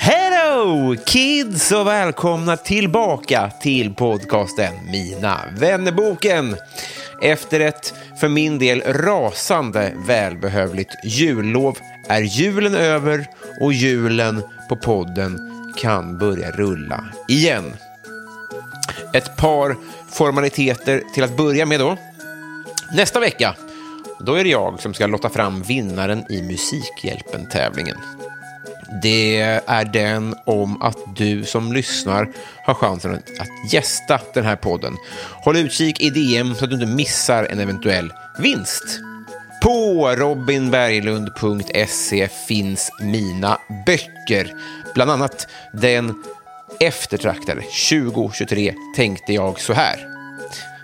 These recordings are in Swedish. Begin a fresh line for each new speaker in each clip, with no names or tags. Hello kids och välkomna tillbaka till podcasten Mina vännerboken. Efter ett för min del rasande välbehövligt jullov är julen över och julen på podden kan börja rulla igen. Ett par formaliteter till att börja med då. Nästa vecka, då är det jag som ska lotta fram vinnaren i Musikhjälpen-tävlingen. Det är den om att du som lyssnar har chansen att- att gästa den här podden. Håll utkik i DM så att du inte missar en eventuell vinst. På robinberglund.se E finns mina böcker, bland annat den eftertraktade 2023 tänkte jag så här.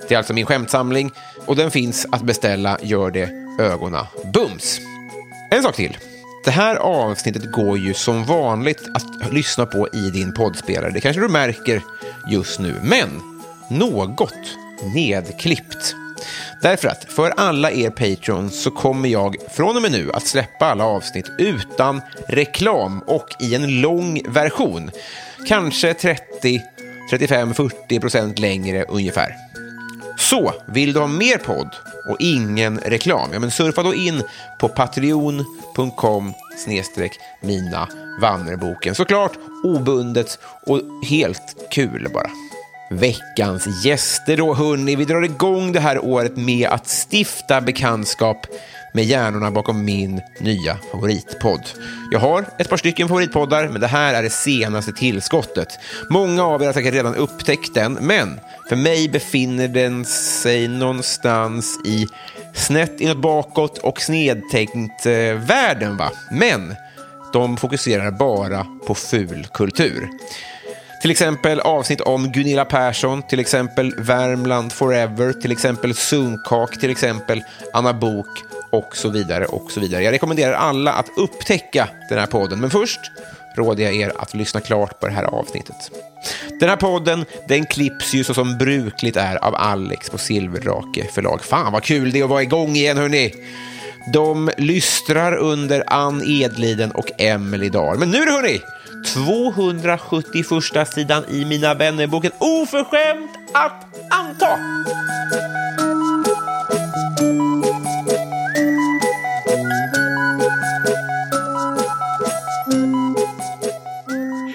Det är alltså min skämtsamling och den finns att beställa, gör det ögona bums. En sak till. Det här avsnittet går ju som vanligt att lyssna på i din poddspelare. Det kanske du märker just nu. Men något nedklippt. Därför att för alla er patrons så kommer jag från och med nu att släppa alla avsnitt utan reklam och i en lång version. Kanske 30, 35, 40 procent längre ungefär. Så, vill du ha mer podd och ingen reklam? Ja, men surfa då in på patreon.com snedstreck mina vandrarboken. Såklart obundet och helt kul bara. Veckans gäster då, hörni. Vi drar igång det här året med att stifta bekantskap med hjärnorna bakom min nya favoritpodd. Jag har ett par stycken favoritpoddar, men det här är det senaste tillskottet. Många av er har säkert redan upptäckt den, men för mig befinner den sig någonstans i snett inåt bakåt och snedtänkt eh, världen, va? Men de fokuserar bara på ful kultur. Till exempel avsnitt om Gunilla Persson, till exempel Värmland Forever, till exempel Sunkak, till exempel Anna Bok och så vidare och så vidare. Jag rekommenderar alla att upptäcka den här podden, men först råder jag er att lyssna klart på det här avsnittet. Den här podden den klipps ju så som brukligt är av Alex på Silverdrake förlag. Fan vad kul det är att vara igång igen hörni! De lystrar under Ann Edliden och Emily Dahl. Men nu då, hörni! 271 sidan i Mina vännerboken. Oförskämt att anta!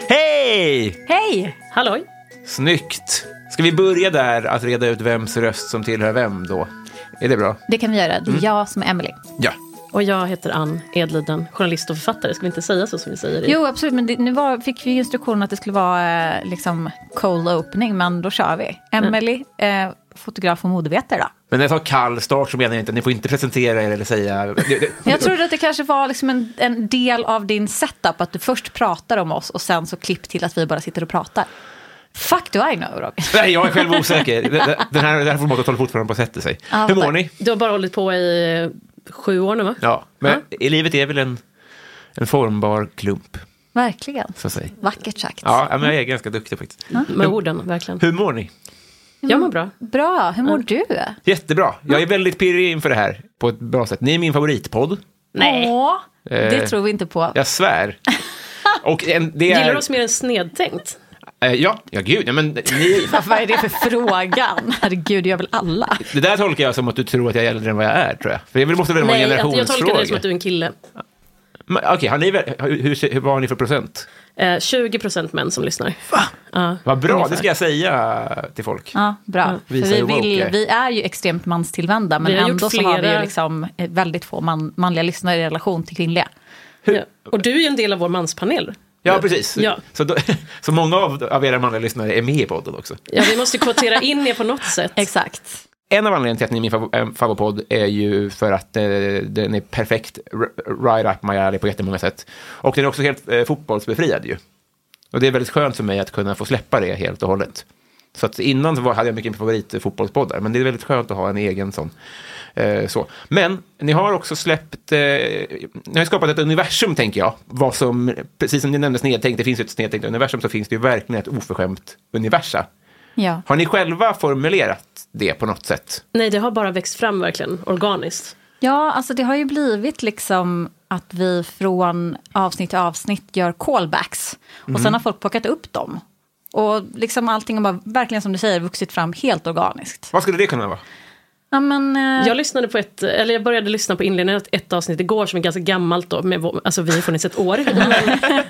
Hej!
Hej! Halloj!
Snyggt! Ska vi börja där att reda ut vems röst som tillhör vem då? Är det bra?
Det kan vi göra. Det är jag som är Emily.
Ja.
Och jag heter Ann Edliden, journalist och författare. Ska vi inte säga så som vi säger? i-
Jo, absolut. Men det, nu var, fick vi ju instruktion att det skulle vara eh, liksom cold opening, men då kör vi. Emily, eh, fotograf och modevetare då.
Men när jag sa kall start så menar jag inte att ni får inte presentera er eller säga...
Jag trodde att det kanske var liksom en, en del av din setup, att du först pratar om oss och sen så klipp till att vi bara sitter och pratar. Fuck do I know, Roger.
Nej, jag är själv osäker. Den här, det här formatet håller fortfarande på att sätta sig.
Ja,
Hur mår
tack.
ni?
Du har bara hållit på i eh, sju år nu va?
Ja, men i livet är väl en, en formbar klump,
Verkligen.
så att säga.
Vackert sagt.
Ja, men jag är ganska duktig faktiskt.
Med orden, verkligen.
Hur mår ni?
Jag mår bra.
Bra, hur mår du?
Jättebra. Jag är väldigt pirrig inför det här på ett bra sätt. Ni är min favoritpodd.
Nej.
Åh, det
Eh,
tror vi inte på.
Jag svär. Och en, det
Gillar
är...
du oss mer än snedtänkt?
Eh, ja, ja gud, ja, men ni,
Vad är det för frågan? Herregud, jag vill alla.
det där tolkar jag som att du tror att jag är äldre än vad jag är, tror jag. För det måste väl vara en
Nej, att jag
generationsfråga?
tolkar det som att du är en kille.
Men, Okej, har ni väl, hur, hur, ser- hur, vad har ni för procent?
Eh, 20 procent män som lyssnar. Ja.
Vad bra,
Ungefär.
det ska jag säga till folk.
Ja, bra. För
Visa
vi,
hur woke
vill,
jag är.
vi är ju extremt manstillvända, men
Vi har gjort
ändå så har vi ju
flera-
liksom eh, väldigt få man, manliga lyssnare i relation till kvinnliga.
Ja. Och du är ju en del av vår manspanel.
Ja, precis.
Ja.
Så, då, så många av, av era manliga lyssnare är med i podden också.
Ja, vi måste kvotera in er på något sätt.
Exakt.
En av anledningarna till att ni är min favvo- eh, favoritpodd är ju för att eh, den är perfekt r- right up my alley på jättemånga sätt. Och den är också helt eh, fotbollsbefriad ju. Och det är väldigt skönt för mig att kunna få släppa det helt och hållet. Så att innan så var, hade jag mycket favoritfotbollspoddar, men det är väldigt skönt att ha en egen sån. Eh, så. Men ni har också släppt, eh, ni har ju skapat ett universum tänker jag. Vad som, precis som ni nämnde snedtänkt, det finns ju ett snedtänkt universum, så finns det ju verkligen ett oförskämt universa.
Ja.
Har ni själva formulerat det på något sätt?
Nej, det har bara växt fram verkligen, organiskt.
ja, alltså det har ju blivit liksom att vi från avsnitt till avsnitt gör callbacks. Och
Mm.
sen har folk plockat upp dem. Och liksom allting har bara, verkligen som du säger, vuxit fram helt organiskt.
Vad skulle det kunna vara?
Ja, men, eh,
Jag, lyssnade på ett, eller jag började lyssna på inledningen av ett avsnitt igår som är ganska gammalt då, med, vår- alltså vi har funnits ett år.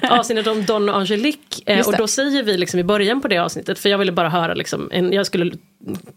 Men avsnittet om Don och Angelique. Eh,
Just
och
det.
då säger vi liksom i början på det avsnittet, för jag ville bara höra, liksom, en, jag skulle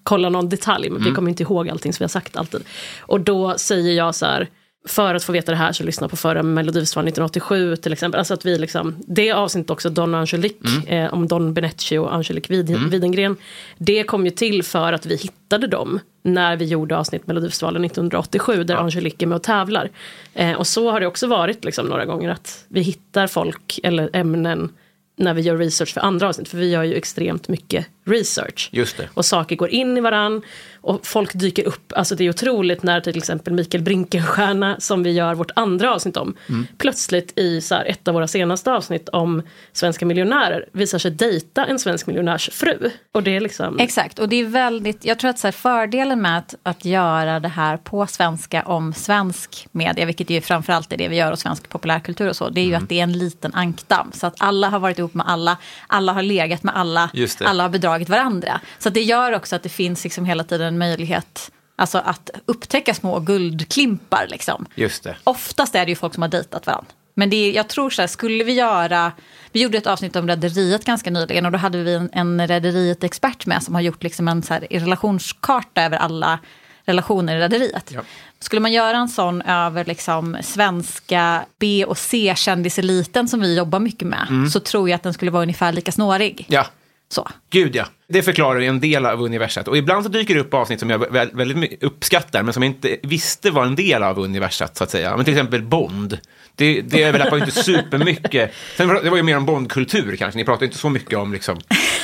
kolla någon detalj, men
Mm.
vi kommer inte ihåg allting som vi har sagt alltid. Och då säger jag så här, för att få veta det här så lyssna på förra Melodifestivalen 1987 till exempel. Alltså att vi liksom, det avsnittet också, Don och Angelique,
Mm.
eh, om Don Benecci och Angelique Wid- Widengren. Det kom ju till för att vi hittade dem när vi gjorde avsnitt Melodifestivalen 1987 där Angelique är med och tävlar. Eh, och så har det också varit liksom, några gånger att vi hittar folk eller ämnen när vi gör research för andra avsnitt. För vi gör ju extremt mycket research.
Just det.
Och saker går in i varann och folk dyker upp. Alltså det är otroligt när till exempel Mikael Brinkenstierna som vi gör vårt andra avsnitt om.
Mm.
Plötsligt i så här ett av våra senaste avsnitt om svenska miljonärer visar sig dejta en svensk miljonärs fru. Och det är
Mm.
liksom...
Exakt, och det är väldigt, jag tror att så här, fördelen med att, att göra det här på svenska om svensk media, vilket ju framförallt är det vi gör och svensk populärkultur och så, det är ju
Mm.
att det är en liten ankdamm. Så att alla har varit ihop med alla, alla har legat med alla,
Just det.
alla har bedragit varandra. Så att det gör också att det finns liksom hela tiden en möjlighet alltså att upptäcka små guldklimpar. Liksom.
Just det.
Oftast är det ju folk som har dejtat varandra. Men det är, jag tror så här, skulle vi göra... Vi gjorde ett avsnitt om Rederiet ganska nyligen och då hade vi en, en Rederiet-expert med som har gjort liksom en så här, relationskarta över alla relationer i Rederiet.
Ja.
Skulle man göra en sån över liksom svenska B och C-kändiseliten som vi jobbar mycket med så tror jag att den skulle vara ungefär lika snårig.
Mm. Ja,
Så.
gud ja. Det förklarar ju en del av universat. Och ibland så dyker det upp avsnitt som jag vä- väldigt my- uppskattar, men som jag inte visste var en del av universat, så att säga. Men till exempel Bond. Det, det överlappar ju inte supermycket. Sen, var- det var ju mer om Bondkultur kanske, ni pratar ju inte så mycket om liksom...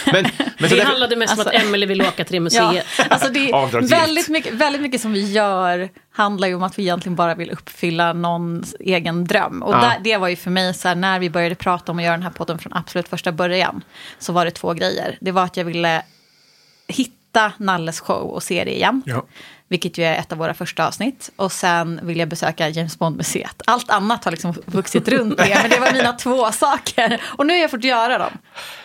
Men, men så
Det
därför-
handlade mest om att Emelie vill åka till det
Alltså- Ja,
museet.
alltså det är
Avdragsgillt.
väldigt, mycket, väldigt mycket som vi gör handlar ju om att vi egentligen bara vill uppfylla någons egen dröm. Och
Ja.
där, det var ju för mig så här, när vi började prata om att göra den här podden från absolut första början, så var det två grejer. Det var att jag ville hitta Nalles show och se det igen.
Ja.
Vilket ju är ett av våra första avsnitt. Och sen vill jag besöka James Bond-museet. Allt annat har liksom vuxit runt det, men det var mina två saker. Och nu har jag fått göra dem.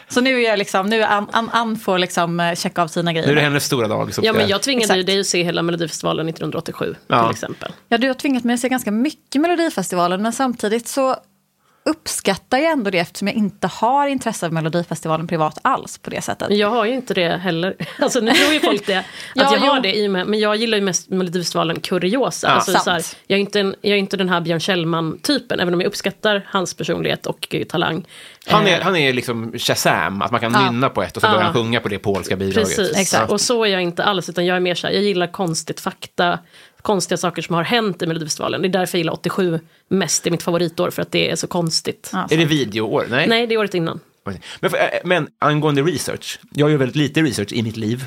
Så nu är jag liksom, nu är Ann, Ann, Ann får liksom eh, checka av sina grejer.
Nu är det hennes stora dag. Som
Ja men
ska-
jag tvingade ju
Exakt.
dig att se hela Melodifestivalen 1987
Ja.
till exempel.
Ja, du har tvingat mig att se ganska mycket Melodifestivalen, men samtidigt så uppskattar jag ändå det eftersom jag inte har intresse av Melodifestivalen privat alls på det sättet.
Men Jag har ju inte det heller. Alltså nu tror ju folk det. Att
Ja,
jag har
jo.
det i och med, men jag gillar ju mest Melodifestivalen kuriosa.
Ja,
alltså,
sant.
så här, jag, är inte en, jag är inte den här Björn Kjellman-typen, även om jag uppskattar hans personlighet och eh, talang.
han,
Eh,
är, han är liksom Shazam, att man kan
Ja.
nynna på ett och så börjar han sjunga på det polska bidraget.
Precis,
Exakt.
och så är jag inte alls. Utan jag är mer så här, jag gillar konstigt fakta, konstiga saker som har hänt i Melodifestivalen. Det är därför jag gillar 87 mest, det är mitt favoritår, för att det är så konstigt.
Ja.
Är det videoår?
Nej, det är året innan.
Men, för- äh, men angående research, jag gör väldigt lite research i mitt liv.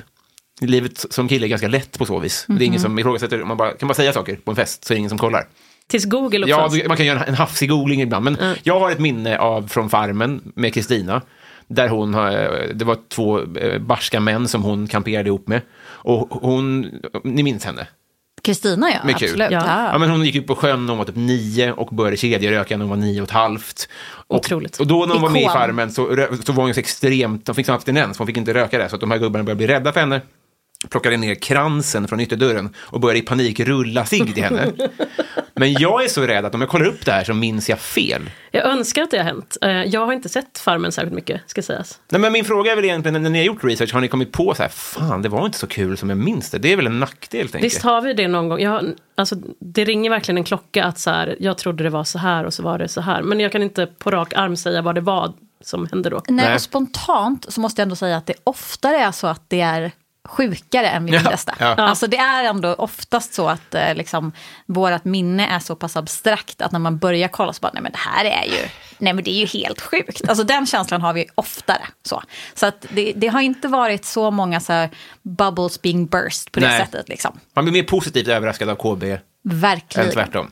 Livet som kille är ganska lätt på så vis. Det är ingen som ifrågasätter, man bara, kan bara säga saker på en fest så är det ingen som kollar.
Tills Google
Ja,
uppfanns.
du- man kan göra en hafsig googling ibland, men jag har ett minne av från Farmen med Kristina, där hon, har- det var eh, två eh, barska män som hon kamperade ihop med. Och hon, ni minns henne?
Kristina ja,
Med kul.
absolut.
Ja.
Ja, men hon gick ut på sjön när hon var typ nio och började kedjeröka när hon var nio och ett halvt. Och,
Otroligt.
Och då när hon var med i
Ikon.
Farmen så, rö- så var hon så extremt, hon fick sån abstinens, hon fick inte röka det, så att de här gubbarna började bli rädda för henne plockade ner kransen från ytterdörren och började i panik rulla sig till henne. Men jag är så rädd att om jag kollar upp det här så minns jag fel.
Jag önskar att det har hänt. Eh, Jag har inte sett Farmen särskilt mycket, ska sägas.
Nej, men min fråga är väl egentligen, när ni har gjort research, har ni kommit på så här, fan det var inte så kul som jag minns det? Det är väl en nackdel, tänker
Visst
jag.
har vi det någon gång? Jag, alltså, det ringer verkligen en klocka att så här, jag trodde det var så här och så var det så här. Men jag kan inte på rak arm säga vad det var som hände då.
Nej,
Nej.
Och spontant så måste jag ändå säga att det oftare är så att det är sjukare än vi
Ja,
minns det.
ja.
Alltså det är ändå oftast så att eh, liksom, vårt minne är så pass abstrakt att när man börjar kolla så bara, nej men det här är ju, nej men det är ju helt sjukt. Alltså den känslan har vi oftare. Så, så att det, det har inte varit så många så här bubbles being burst på det
Nej.
sättet. Liksom.
Man blir mer positivt överraskad av KB
Verkligen.
Än tvärtom.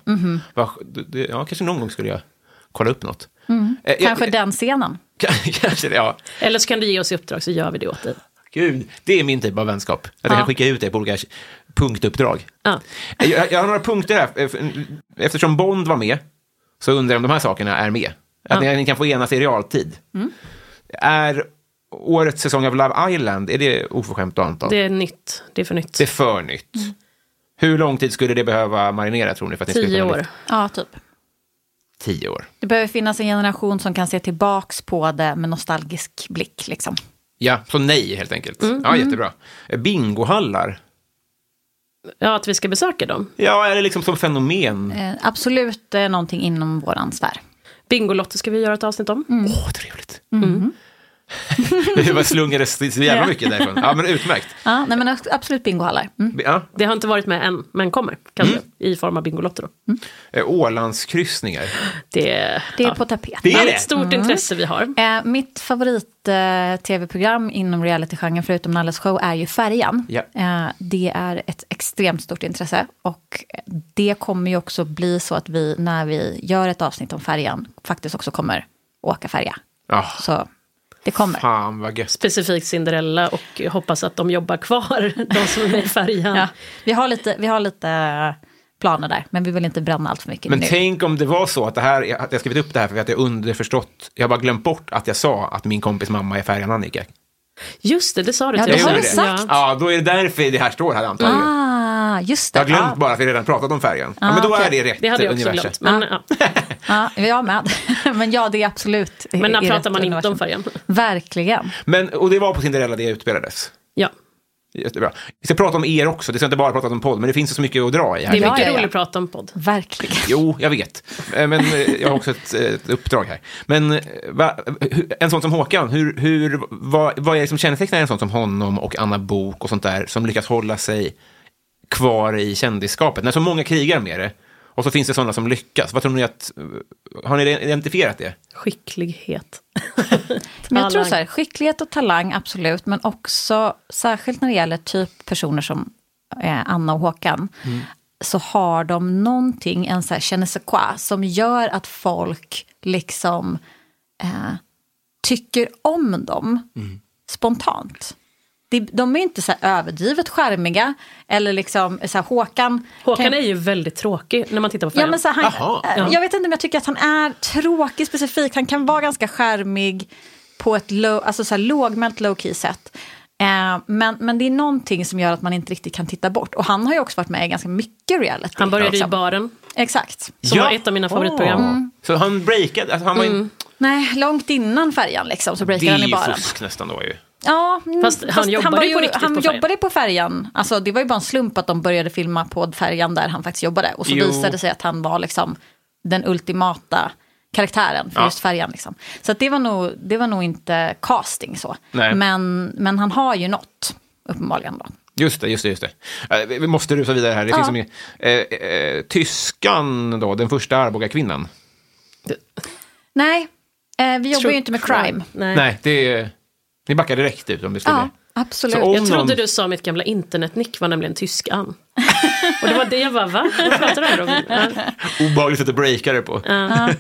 Vad sk- det- det- Ja, kanske någon gång skulle jag kolla upp något. Eh, jag-
Kanske den scenen.
kanske det, ja.
Eller så kan du ge oss i uppdrag så gör vi det åt dig.
Gud, det är min typ av vänskap. Att jag
Ja.
kan skicka ut det på olika punktuppdrag.
Ja.
Eh, Jag, jag har några punkter här. Eh, för- Eftersom Bond var med så undrar jag om de här sakerna är med. Att ni, ni kan få enas i realtid. Är årets säsong av Love Island, är det oförskämt att anta?
Det
Det,
är nytt. Det är för nytt.
är för nytt. Hur lång tid skulle det behöva marinera tror ni? För att ni skulle
Tio
kunna
år.
lyfta-
Ja, typ.
Tio år.
Det behöver finnas en generation som kan se tillbaks på det med nostalgisk blick. Liksom.
Ja, så nej helt enkelt. ja, jättebra. Eh, Bingohallar.
Ja, att vi ska besöka dem.
Ja, är det liksom som fenomen?
Eh, absolut eh, någonting inom våran sfär.
Bingolotto ska vi göra ett avsnitt om.
Mm.
Åh, trevligt. det bara slungades så jävla mycket därifrån. Ja, men utmärkt.
Ja, nej, men abs- absolut bingohallar. Mm.
Ja.
Det har inte varit med än, men kommer kanske.
Mm.
I form av Bingolotto då.
Eh, Ålandskryssningar.
Det,
Det är
ja.
på Mm. tapeten.
Det är
det är
det.
ett stort intresse vi har.
Eh, mitt favorit-tv-program inom realitygenren, förutom Nalles show, är ju Färjan.
Ja.
Eh, det är ett extremt stort intresse. Och det kommer ju också bli så att vi, när vi gör ett avsnitt om Färjan, faktiskt också kommer åka färja.
Ja,
Så det kommer.
Ah. fan vad gött.
Specifikt Cinderella och hoppas att de jobbar kvar, de som är med i färjan.
Ja. Vi, har lite, vi har lite planer där, men vi vill inte bränna allt för mycket
Men
nu.
tänk om det var så att, det här, är- att jag skrivit upp det här för att jag underförstått, jag har bara glömt bort att jag sa att min kompis mamma är färjan Annika.
Just det, det sa du
Ja,
till
det
oss.
har
gjorde
du sagt.
Ja.
Ja, då är det därför det här står här antagligen.
Ah, just det.
Jag har glömt
Ja.
bara att vi redan pratat om färjan. Ja,
Ah,
men då är
okej.
det rätt
Det hade jag också
universum.
glömt. Men,
Ah,
ja.
Ja, jag med. Men ja, det är absolut i-
men när
i
pratar
rätt
man inte
universum.
om färjan?
Verkligen.
Men, och det var på Cinderella det utspelades.
Ja.
Jättebra. Vi ska prata om er också, det ska inte bara prata om podd, men det finns ju så mycket att dra i här.
Det är
Ja,
mycket
ja, ja.
roligt att prata om podd.
Verkligen.
Jo, jag vet. Eh, Men eh, jag har också ett, eh, ett uppdrag här. Men eh, va, hu- en sån som Håkan, hur, hur, vad, vad är det som kännetecknar en sån som honom och Anna Bok och sånt där som lyckas hålla sig kvar i kändisskapet? När så många krigar med det och så finns det sådana som lyckas. Vad tror ni att, eh, har ni identifierat det?
Skicklighet.
Men jag tror
Talang.
så här, skicklighet och talang, absolut. Men också, särskilt när det gäller typ personer som eh, Anna och Håkan, så har de någonting, en så här je ne sais quoi, som gör att folk liksom eh, tycker om dem spontant. Det- De är inte så här överdrivet charmiga, eller liksom, så här, Håkan...
Håkan
kan-
är ju väldigt tråkig när man tittar på
Ja,
färjan.
men så här,
Jaha.
han, eh, jag vet inte om jag tycker att han är tråkig specifikt. Han kan vara ganska skärmig på ett low, alltså så här lågmält low key sätt. Eh, men, men det är någonting som gör att man inte riktigt kan titta bort. Och han har ju också varit med i ganska mycket reality.
Han började i
liksom.
baren.
Exakt.
Som var ett av mina favoritprogram. Mm.
Så han breakade, alltså han var ju en
Nej, långt innan färjan liksom så
det
breakade
är
han i
ju
baren.
fusk nästan då ju.
Ja, mm,
Fast han jobbade
var
ju på riktigt
Han
på färjan.
jobbade på färjan. Alltså, det var ju bara en slump att de började filma på färjan där han faktiskt jobbade. Och så
Jo.
visade det sig att han var liksom den ultimata karaktären för
Ja.
just färjan. Liksom. Så att det, var nog, det var nog inte casting så.
Nej.
Men, men han har ju något, uppenbarligen. Då.
Just det, just det, just det. Eh, Vi vi måste rusa vidare här. Det finns så mycket. Eh, eh, tyskan då, den första
Mm.
Arboga-kvinnan.
Nej, eh, vi jobbar
True
ju inte med crime.
Nej.
Nej, det är... Ni backar direkt ut om det skulle...
Ja, absolut.
Så om-
Jag trodde
någon-
du sa mitt gamla internetnick var nämligen tyskan. Och det var det jag bara, va? Vad pratar du om? Ja.
Obehagligt sätt att breaka det på. Eh,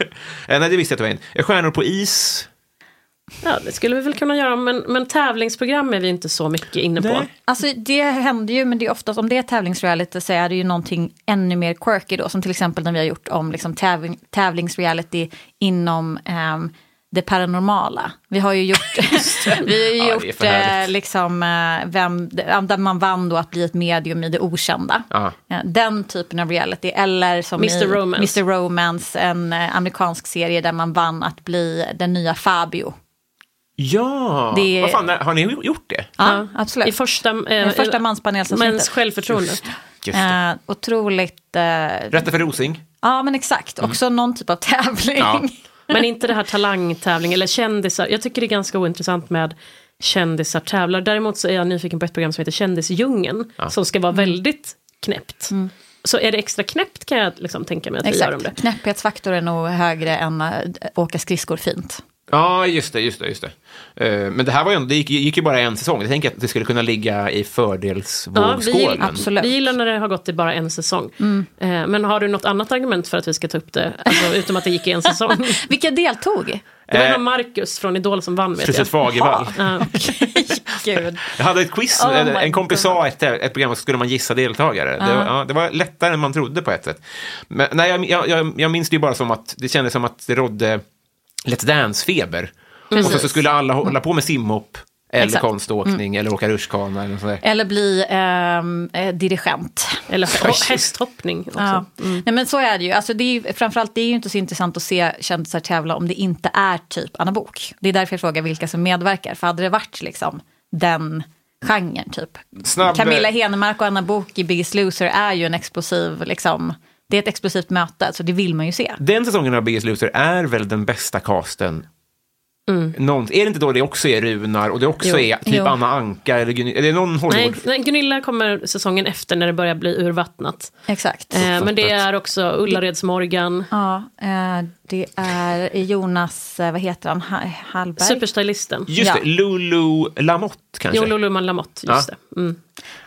nej, det visste jag att det var en. Eh, Stjärnor på is.
Ja, det skulle vi väl kunna göra, men, men tävlingsprogram är vi inte så mycket inne på.
Nej.
Alltså det händer ju, men det är oftast om det är tävlingsreality så är det ju någonting ännu mer quirky då. Som till exempel när vi har gjort om liksom tävling, tävlingsreality inom ehm, det paranormala. Vi har ju gjort,
Ja, det
vi har ju
är
gjort
för härligt.
eh, liksom, eh, vem, där man vann då att bli ett medium i det okända.
Ja.
Eh, Den typen av reality. Eller som
Mr.
i
Romance.
Mr. Romance, en eh, amerikansk serie där man vann att bli den nya Fabio.
Ja,
Det-
vad fan, har ni gjort det?
Ja, absolut.
I första, eh,
Den första manspanelsavsnittet.
Mäns självförtroende.
Just det.
Eh, otroligt... Eh,
Rätta för Rosing?
Ja, men exakt. Också någon typ av tävling.
Ja.
Men inte det här talangtävling eller kändisar. Jag tycker det är ganska ointressant med kändisar tävlar. Däremot så är jag nyfiken på ett program som heter Kändisdjungeln som ska
Mm.
vara väldigt knäppt. Så är det extra knäppt kan jag liksom tänka mig att vi gör om det.
Exakt. Knäpphetsfaktor är nog högre än att åka skridskor fint.
Ja, just det, just det. Just det. Eh, men det här var ju, ändå- det gick, gick ju bara en säsong. Jag tänker att det skulle kunna ligga i fördelsvågskålen.
Ja, absolut. Mm.
Vi gillar när det har gått i bara en säsong. Eh, Men har du något annat argument för att vi ska ta upp det, alltså, utom att det gick i en säsong?
Vilka deltog?
Det var ju
Eh.
han Marcus från Idol som vann vet
Precis,
jag.
Fagervall.
Ja.
Gud.
Jag hade ett quiz,
Oh
en-
my
en kompis
God.
sa ett, ett program, skulle man gissa deltagare? Det, var, ja, det var lättare än man trodde på ett sätt. Men, nej, jag- jag, jag, jag minns det ju bara som att det kändes som att det rådde Let's Dance-feber. Och så, så skulle alla hålla på med simhopp, eller
Exakt. Mm.
konståkning, eller åka rutschkana eller något sånt där.
Eller bli ehm, eh, dirigent.
Eller och hästhoppning också.
Ja. Nej, men så är det ju. Alltså, det är ju framförallt det är ju inte så intressant att se kändisar tävla om det inte är typ Anna Bok. Det är därför jag frågar vilka som medverkar. För hade det varit liksom den genren typ.
Snabb-
Camilla Henemark och Anna Bok i Biggest Loser är ju en explosiv, liksom, det är ett explosivt möte, så det vill man ju se.
Den säsongen av Biggest Loser är väl den bästa casten någonsin. Är det inte då det också är Runar och det också
Jo.
är typ
Mm. Jo.
Anna Anka eller Gun- är det någon
Nej,
Hollywood?
nej, Gunilla kommer säsongen efter när det börjar bli urvattnat.
Exakt.
Eh, men det är också Ullareds Morgan,
Ja, eh, det är Jonas, eh, vad heter han, Ha- Hallberg?
superstylisten.
Just
Ja.
det, Lulu Lamotte kanske?
Jo, Luluman Lamotte, just
Ja.
det. Mm.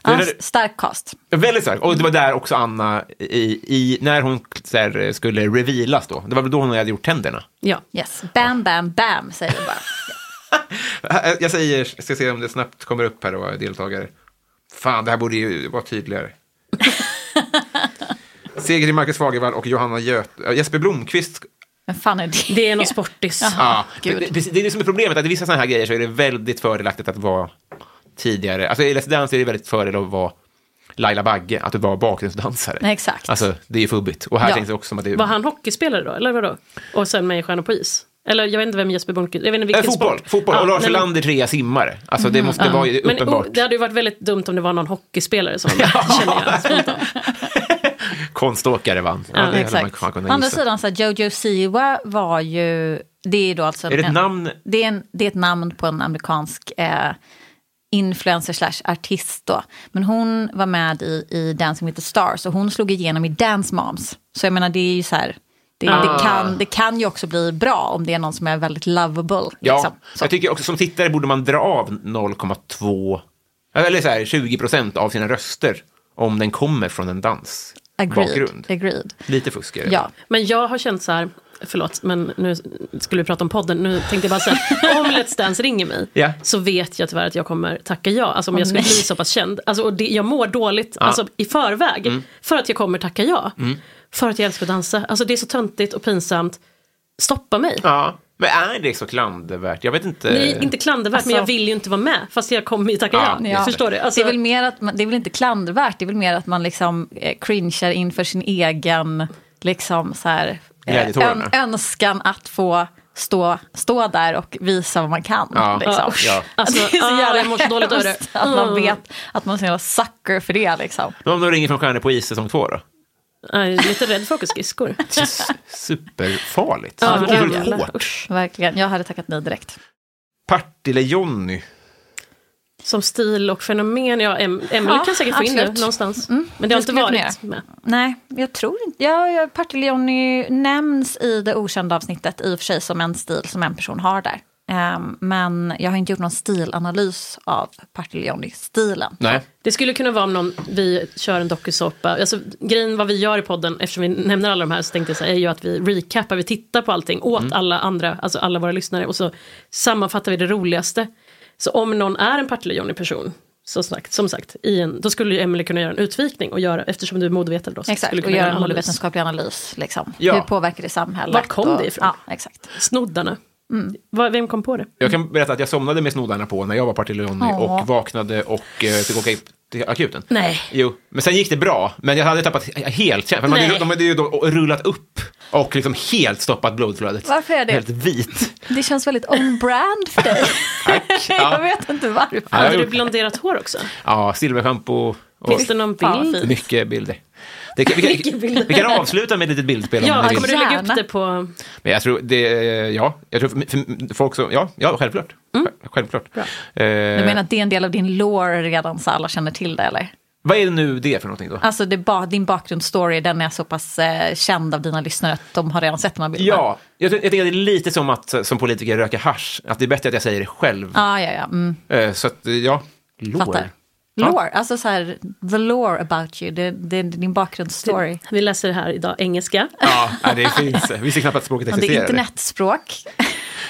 Ja,
Det är-
stark cast.
Väldigt stark. Och det var där också Anna, i, i, när hon så här, eh, skulle revealas då, det var väl då hon hade gjort tänderna.
Ja.
Yes. Bam, bam, bam, säger jag bara.
Äh, Jag säger, jag ska se om det snabbt kommer upp här då, deltagare. Fan, det här borde ju vara tydligare. Seger till Marcus Fagervall och Johanna Göt... äh, Jesper Blomqvist.
Men fan är det?
Det är någon sportis.
Ja,
Ah,
det,
gud.
det, det är det som är problemet, att i vissa sådana här grejer så är det väldigt fördelaktigt att vara tidigare. Alltså i Let's Dance är det väldigt fördel att vara Laila Bagge, att vara bakgrundsdansare.
Nej, exakt.
Alltså, det är ju fubbigt. Och här
Ja.
känns det också som att det är...
Var han hockeyspelare då, eller vadå? Och sen med i Stjärnor på is? Eller jag vet inte vem Jesper Blomqvist... Jag vet inte
Äh,
vilken
fotboll,
sport.
fotboll. och
Ja,
Lars
nej, men- Mm.
Olander trea simmare. Alltså det måste vara ju
Men
uppenbart.
oh, det hade ju varit väldigt dumt om det var någon hockeyspelare som känner jag. spontant.
Konståkare vann. Ja, det hade man
Exakt.
kunnat
Å
gissa.
andra sidan, så här, Jojo Siwa var ju... Det är ju då alltså...
Är det ett
en-
namn?
Det är, en, det är ett namn på en amerikansk eh, influencer slash artist då. Men hon var med i, i Dancing with the Stars och hon slog igenom i Dance Moms. Så jag menar, det är ju så här... Det,
Ah.
det, kan, det kan ju också bli bra om det är någon som är väldigt lovable.
Ja,
liksom. Så.
jag tycker också som tittare borde man dra av 0,2, eller så här 20 procent av sina röster om den kommer från en dansbakgrund.
Agreed. Agreed.
Lite fusk är det.
Ja.
Men jag har känt så här, förlåt, men nu skulle vi prata om podden, nu tänkte jag bara säga, om Let's Dance ringer mig,
Ja.
så vet jag tyvärr att jag kommer tacka ja, alltså om jag skulle
nej.
bli så pass känd. Alltså, och det, jag mår dåligt alltså, i förväg,
Mm.
för att jag kommer tacka ja. För att jag älskar att dansa, alltså det är så töntigt och pinsamt. Stoppa mig.
ja. Men är det så klandervärt? Jag vet inte.
Nej, inte klandervärt, men
Alltså-
jag vill ju inte vara med, fast jag kommer ju tacka ja.
Ja,
Ja.
Förstår du? Alltså,
det, är väl mer att man, det är väl inte klandervärt, det är väl mer att man liksom eh, cringear inför sin egen liksom så här,
Glädjetårarna.
önskan att få stå, stå där och visa vad man kan.
Ja.
Liksom.
Ja.
Alltså,
Det är så
ah,
jävla
jag mår så dåligt över det. Ah.
hemskt Att man vet att man är så jävla sucker för det. Liksom.
Men Om de ringer från Stjärnor på is säsong två då?
jag är lite rädd för att åka skridskor.
S- Superfarligt.
Ja,
Otroligt
men jävlar.
hårt.
Usch.
Verkligen, jag hade tackat nej direkt.
Partille-Jonny.
Som stil och fenomen, ja, Em- Emelie
Ja,
kan säkert få in det
absolut.
någonstans. Men det har
det
inte
skulle jag kunna
varit med.
Nej, jag tror inte... Ja, ja, Partille-Johnny nämns i det okända avsnittet i och för sig som en stil som en person har där. Ehm, men jag har inte gjort någon stilanalys av Partille-Johnny-stilen.
Nej.
Det skulle kunna vara om någon, vi kör en dokusåpa. Alltså, grejen vad vi gör i podden, eftersom vi nämner alla de här, så tänkte jag så här, är ju att vi recapar, vi tittar på allting åt alla andra, alltså alla våra lyssnare och så sammanfattar vi det roligaste. Så om någon är en Partille-Johnny-person, så sagt, som sagt, i en, då skulle ju Emily kunna göra en utvikning och göra, eftersom du är modevetare då, så
Exakt,
skulle
och
du kunna
göra
göra
en
analys.
målvetenskaplig analys. Liksom.
Ja.
Hur påverkar det samhället?
Vart kom
och,
det ifrån?
Ja, exakt.
Snoddarna.
Mm.
Vad- Vem kom på det?
Jag kan berätta att jag somnade med snoddarna på när jag var Partille Johnny
Åh.
och vaknade och eh, fick åka i- till akuten.
Nej.
Jo, men sen gick det bra. Men jag hade tappat he- helt känslan. för man hade
Nej.
ju- De hade ju då rullat upp och liksom helt stoppat blodflödet.
Varför är det?
Helt vit.
Det känns väldigt on-brand för dig. jag vet inte varför.
Ja, jag
Hade du
gjorde-
blonderat hår också?
Ja, silverschampo. Och
Finns det någon
Fan, vad
bild?
fint.
mycket bilder. Det kan, vi, kan,
Mycket bilder.
vi kan avsluta med ett litet bildspel om
Ja,
ni
kommer
vill.
du lägga upp
Gärna.
det på...
Men jag tror det, ja, jag tror för, för folk som, ja, ja självklart.
Mm.
Själv- Självklart. Eh,
Du menar att det är en del av din lore redan så alla känner till det eller?
Vad är det nu det för någonting då?
Alltså det är ba- din bakgrundsstory den är så pass eh, känd av dina lyssnare att de har redan sett de här bilderna.
Ja, jag, tror- jag tänker att det är lite som att eh, som politiker röka hasch, att det är bättre att jag säger det själv.
Ja, ja, ja. Mm,
Eh, så att, ja, lår.
fattar. Lore, alltså så här, the lore about you, det, det är din bakgrundsstory.
Vi läser det här idag, engelska.
Ja, nej, det finns. eh, Vi ser knappt att språket
Ja, det
existerar.
är internetspråk.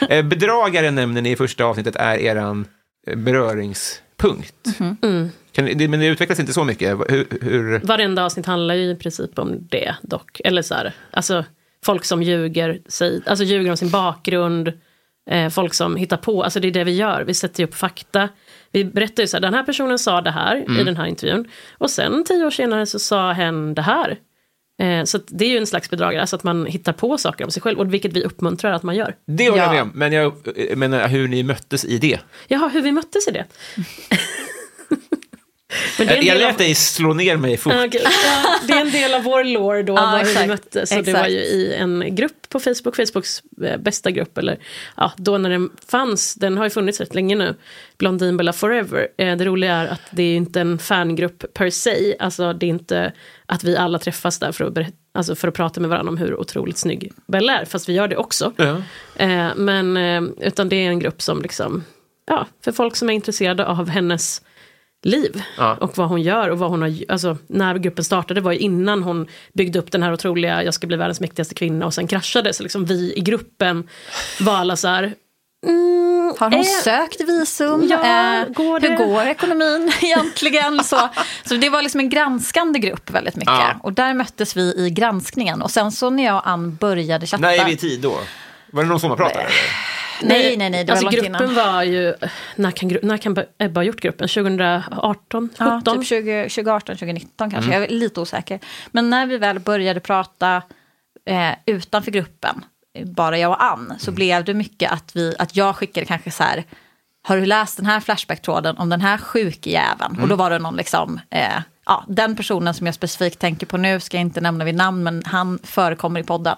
Eh, bedragare nämner ni i första avsnittet är eran eh, beröringspunkt.
Mhm.
Mm.
Kan, ni- det, men det utvecklas inte så mycket. Hur, hur,
Varenda avsnitt handlar ju i princip om det dock. Eller så här, alltså folk som ljuger, säg- alltså ljuger om sin bakgrund, eh, folk som hittar på, alltså det är det vi gör. Vi sätter ju upp fakta. Vi berättar ju så här, den här personen sa det här
Mm.
i den här intervjun. Och sen tio år senare så sa hen det här. Eh, så att det är ju en slags bedragare, alltså att man hittar på saker om sig själv, och vilket vi uppmuntrar att man gör.
det håller jag
Ja.
med om, men jag eh, menar hur ni möttes i det.
Jaha, hur vi möttes i det? Men det är
Jag,
en
Eh, jag
del av-
lät dig slå ner mig fort.
Ja, okej. Ja, det är en del av vår lore då,
Ja,
vad- hur vi
exakt.
möttes. Så det
Exakt.
var ju i en grupp på Facebook, Facebooks eh, bästa grupp, eller ja, då när den fanns, den har ju funnits rätt länge nu, Blondinbella Forever. Eh, Det roliga är att det är ju inte en fangrupp per se, alltså det är inte att vi alla träffas där för att, berätta, alltså för att prata med varandra om hur otroligt snygg Bella är, fast vi gör det också.
Ja.
Eh, Men, eh, utan det är en grupp som liksom, ja, för folk som är intresserade av hennes liv
Ja.
och vad hon gör och vad hon har, alltså när gruppen startade var ju innan hon byggde upp den här otroliga jag ska bli världens mäktigaste kvinna och sen kraschade så liksom vi i gruppen var alla så här
Har hon
Eh,
sökt visum? Eh,
ja, går det?
Hur går ekonomin egentligen? Så, så det var liksom en granskande grupp väldigt mycket.
Ja.
Och där möttes vi i granskningen. Och sen så när jag och Ann började chatta.
När är vi i tid då? Var det någon sommarpratare?
Nej, nej, nej, det var
alltså
långt
gruppen
innan.
var ju, när kan, gru- när kan Ebba ha gjort gruppen? 2018, 17?
Ja, typ 20, 2018, 2019 kanske. Jag är lite osäker. Men när vi väl började prata eh, utanför gruppen, eh, bara jag och Ann, så blev det mycket att, vi, att jag skickade kanske så här, har du läst den här Flashback-tråden om den här sjukjäveln? Och då var det någon liksom, eh, ja, den personen som jag specifikt tänker på nu, ska jag inte nämna vid namn, men han förekommer i podden.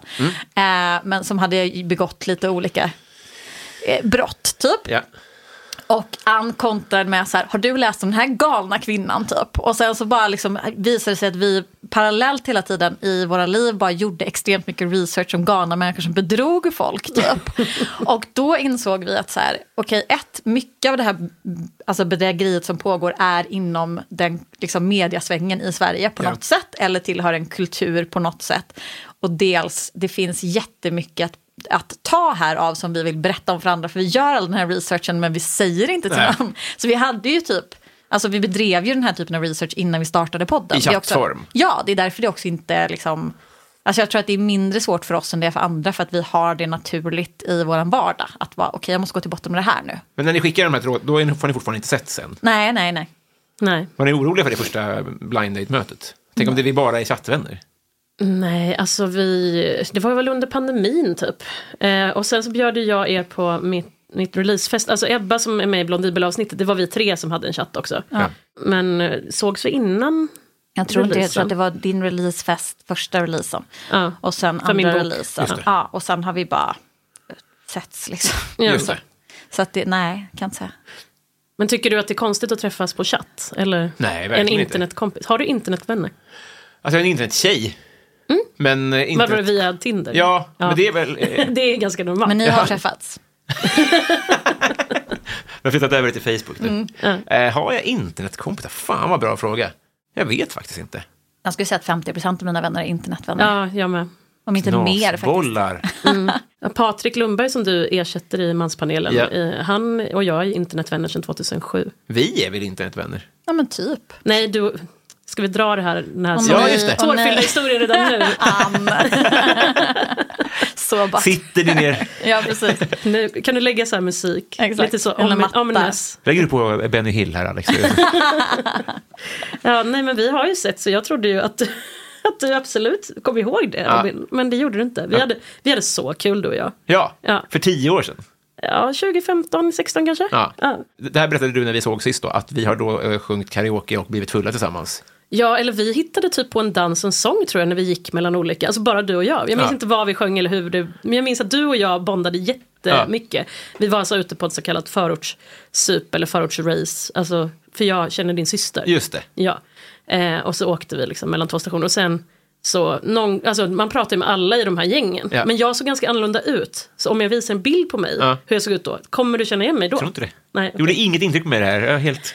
Eh, men som hade begått lite olika eh, brott, typ.
Ja.
Och Ann kontrade med så här, har du läst om den här galna kvinnan typ? Och sen så bara liksom visade det sig att vi parallellt hela tiden i våra liv bara gjorde extremt mycket research om galna människor som bedrog folk typ. och då insåg vi att så här, okej ett, mycket av det här alltså bedrägeriet som pågår är inom den liksom, mediasvängen i Sverige på
Ja.
något sätt eller tillhör en kultur på något sätt. Och dels, det finns jättemycket att att ta här av som vi vill berätta om för andra. För vi gör all den här researchen men vi säger inte till
Nej.
någon. Så vi hade ju typ, alltså vi bedrev ju den här typen av research innan vi startade podden.
I
Det är också-
chattform.
Ja, det är därför det också inte liksom, alltså jag tror att det är mindre svårt för oss än det är för andra. För att vi har det naturligt i våran vardag. Att vara, okej jag måste gå till botten med det här nu.
Men när ni skickar de här trådarna, då är ni- får ni fortfarande inte sett sen.
Nej, nej, nej.
Nej.
Var ni oroliga för det första blind date-mötet? Tänk om det vi bara är chattvänner?
Nej, alltså vi, det var väl under pandemin typ. Eh, och sen så bjöd ju jag er på mitt, mitt releasefest. Alltså Ebba som är med i Blondinbella-avsnittet, det var vi tre som hade en chatt också.
Ja.
Men eh, sågs vi innan?
Jag tror inte det, jag tror
Releasen.
att det var din releasefest, första releasen.
Ja.
Och sen
För min
andra
bok.
releasen.
Just det.
Ja, och sen har vi bara setts liksom.
Ja.
Just det. Alltså,
Så att det, nej, kan inte säga.
Men tycker du att det är konstigt att träffas på chatt? Eller
Nej,
en
verkligen inte.
internetkompis? Har du internetvänner?
Alltså jag är en internettjej. Men eh,
Varför
internet...
via Tinder?
Ja, men det är väl... eh,
det är ganska normalt.
Men ni har träffats?
Jag har flyttat över det till Facebook nu. Eh, har jag internetkompisar? Fan vad bra fråga. Jag vet faktiskt inte.
Jag skulle säga att 50 av mina vänner är internetvänner.
Ja, jag med.
Om inte mer faktiskt.
Knasbollar.
Ja, Patrik Lundberg som du ersätter i manspanelen,
Ja.
eh, han och jag är internetvänner sedan 2007.
Vi är väl internetvänner?
Ja, men typ.
Nej, du, ska vi dra det här, den här
Åh,
oh,
Ja, just det.
Åh, nej.
tårfyllda historien redan nu?
Ann. Så bara.
Sitter ni ner?
Ja, precis.
nu? Kan du lägga så här musik?
Exakt.
Lite så
Eller
om,
matta.
ominous.
Lägger du på Benny Hill här, Alex?
Ja, nej men vi har ju sett så jag trodde ju att, att du absolut kom ihåg det
Ja.
Robin. Men det gjorde du inte. Vi hade, vi hade så kul du och jag.
ja,
Ja.
för tio år sedan.
Ja, 2015, 16 kanske?
Ja.
Ja.
Det här berättade du när vi såg sist då, att vi har då eh, sjungit karaoke och blivit fulla tillsammans.
Ja, eller vi hittade typ på en dans och en sång tror jag när vi gick mellan olika, alltså bara du och jag. Jag minns
Ja.
inte vad vi sjöng eller hur det, men jag minns att du och jag bondade jättemycket. Vi var alltså ute på ett så kallat förortssup eller förortsrace, alltså, för jag känner din syster.
Just det.
Ja. Eh, och så åkte vi liksom mellan två stationer och sen så någon, alltså man pratar ju med alla i de här gängen.
Ja.
Men jag såg ganska annorlunda ut. Så om jag visar en bild på mig,
Ja.
hur jag såg ut då, kommer du känna igen mig då?
Jag tror inte det.
Nej, okej.
Gjorde inget intryck med det här. Jag är helt...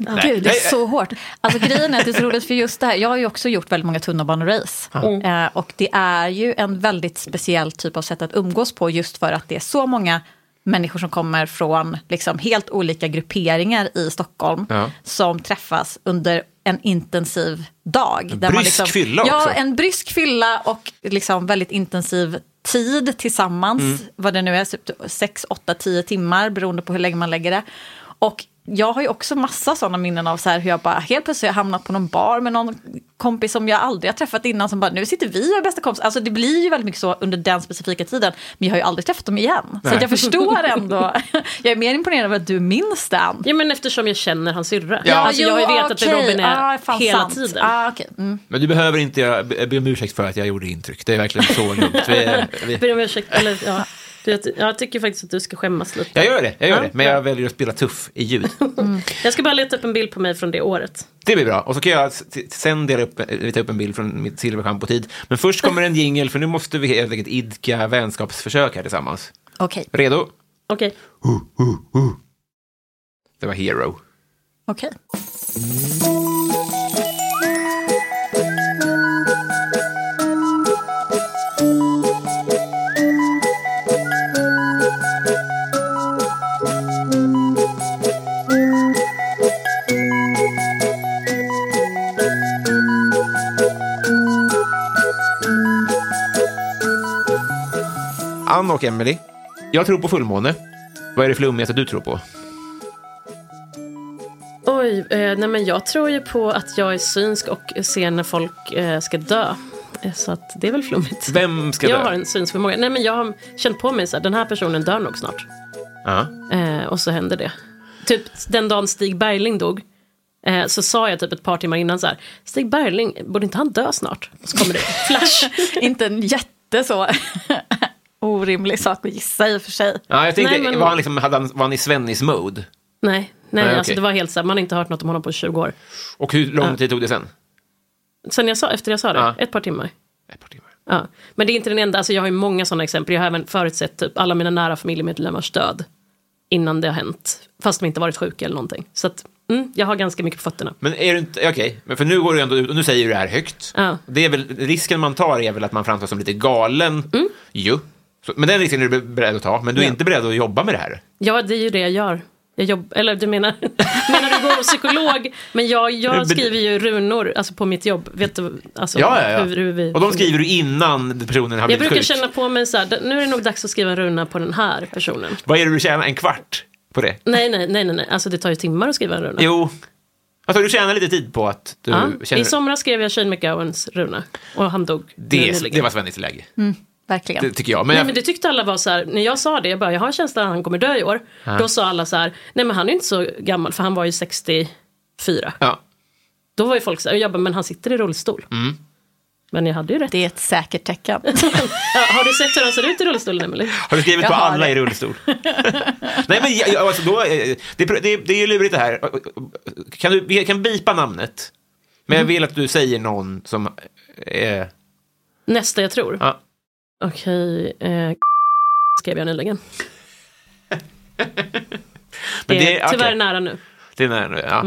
Nej.
Gud, det
Nej,
är så hårt. Alltså grejen är att det är så roligt för just det här, jag har ju också gjort väldigt många tunnelbanerace. Eh, och det är ju en väldigt speciell typ av sätt att umgås på just för att det är så många människor som kommer från liksom helt olika grupperingar i Stockholm
Ja.
som träffas under en intensiv dag. liksom-
brysk fylla
ja,
också.
en brysk fylla och liksom väldigt intensiv tid tillsammans, vad det nu är, typ 6, 8, 10 timmar beroende på hur länge man lägger det. Och jag har ju också massa sådana minnen av så här hur jag bara helt plötsligt har hamnat på någon bar med någon kompis som jag aldrig har träffat innan som bara nu sitter vi och är bästa kompis. Alltså det blir ju väldigt mycket så under den specifika tiden men jag har ju aldrig träffat dem igen. Så att jag förstår ändå. jag är mer imponerad över att du minns den.
Ja men eftersom jag känner hans syrra.
Ja.
alltså, jag har ju
jo,
vetat vem
okej.
Robin är
Ah, fan,
hela
sant.
tiden.
Ah, okej. Mm.
Men du behöver inte göra- be be om ursäkt för att jag gjorde intryck. Det är verkligen så lugnt. Vi, vi...
Ber om ursäkt, eller ja. Du, jag, jag tycker faktiskt att du ska skämmas lite.
Jag gör det, jag gör
Ja.
det. Men jag väljer att spela tuff i ljud.
Jag ska bara leta upp en bild på mig från det året.
Det blir bra. Och så kan jag s- t- sen dela upp, eh, ta upp en bild från mitt silverschampotid. Men först kommer en jingel, för nu måste vi helt enkelt idka vänskapsförsök här tillsammans.
Okej,
Redo?
Okej.
Det var Hero.
okej.
Ann och Emily. jag tror på fullmåne. Vad är det flummigaste du tror på?
Oj, eh, nej men jag tror ju på att jag är synsk och ser när folk eh, ska dö. Eh, Så att det är väl flummigt.
Vem ska
jag
dö?
har en synsk förmåga. Nej men jag har känt på mig så här, den här personen dör nog snart.
Ja.
Eh, och så hände det. Typ den dagen Stig Bergling dog. Eh, så sa jag typ ett par timmar innan så här, Stig Bergling, borde inte han dö snart? Och så kommer det flash.
Inte en jätte så orimlig sak att gissa i och för sig.
Ja, jag tänkte,
Nej, men-
var, han liksom, hade han, var han i Svennis-mode?
Nej, nej,
Nej,
alltså
okej.
det var helt så här, man har inte hört något om honom på 20 år.
Och hur lång tid tog det sen?
Sen jag sa, efter jag sa det,
Ja.
ett par timmar.
Ett par timmar.
Ja. Men det är inte den enda, alltså jag har ju många sådana exempel. Jag har även förutsett typ alla mina nära familjemedlemmars död innan det har hänt. Fast de inte varit sjuka eller någonting. Så att, mm, jag har ganska mycket på fötterna.
Men är du inte, okej, men för nu går du ändå ut och nu säger du det här högt.
Ja.
Det är väl, risken man tar är väl att man framstår som lite galen.
Mm.
Ju. Så, men den risken är du beredd att ta, men du är inte beredd att jobba med det här.
Ja, det är ju det jag gör. Jag jobb, eller du menar, menar du går hos psykolog? Men jag,
Men-
jag skriver ju runor alltså på mitt jobb. Vet du alltså,
Ja, ja, ja.
Hur, hur vi
och de skriver du innan personen har
Jag
blivit
brukar
sjuk.
känna på mig så här, nu är det nog dags att skriva en runa på den här personen.
Vad är det du tjänar? En kvart på det?
Nej, nej, nej, nej, nej. alltså det tar ju timmar att skriva en runa.
Jo. Alltså du tjänar lite tid på att du
Ja.
känner...
I somras skrev jag Shane McGowans runa och han dog nu
det,
nyligen.
det var Svennis läge,
Verkligen.
det tycker jag. Men,
Nej
jag,
men det tyckte alla var så här, när jag sa det, jag bara jag har en känsla att han kommer dö i år. Då sa alla så här, nej men han är inte så gammal för han var ju 64.
ja.
Då var ju folk så här, jag bara men han sitter i rullstol.
Mm.
Men jag hade ju rätt.
Det är ett säkert tecken.
Ja, har du sett hur han ser ut i rullstolen Emelie?
Har du skrivit
Jag
på
har
alla
det.
i rullstol? Nej, men jag- jag- alltså, då, eh, det, det, det är ju lurigt det här. Kan du vi kan bipa namnet? Men jag
Mm.
vill att du säger någon som... Eh,
Nästa jag tror.
ja.
Okej, eh, skrev jag nyligen. Det är
okej.
tyvärr Mm. nära nu.
Det är nära nu, ja.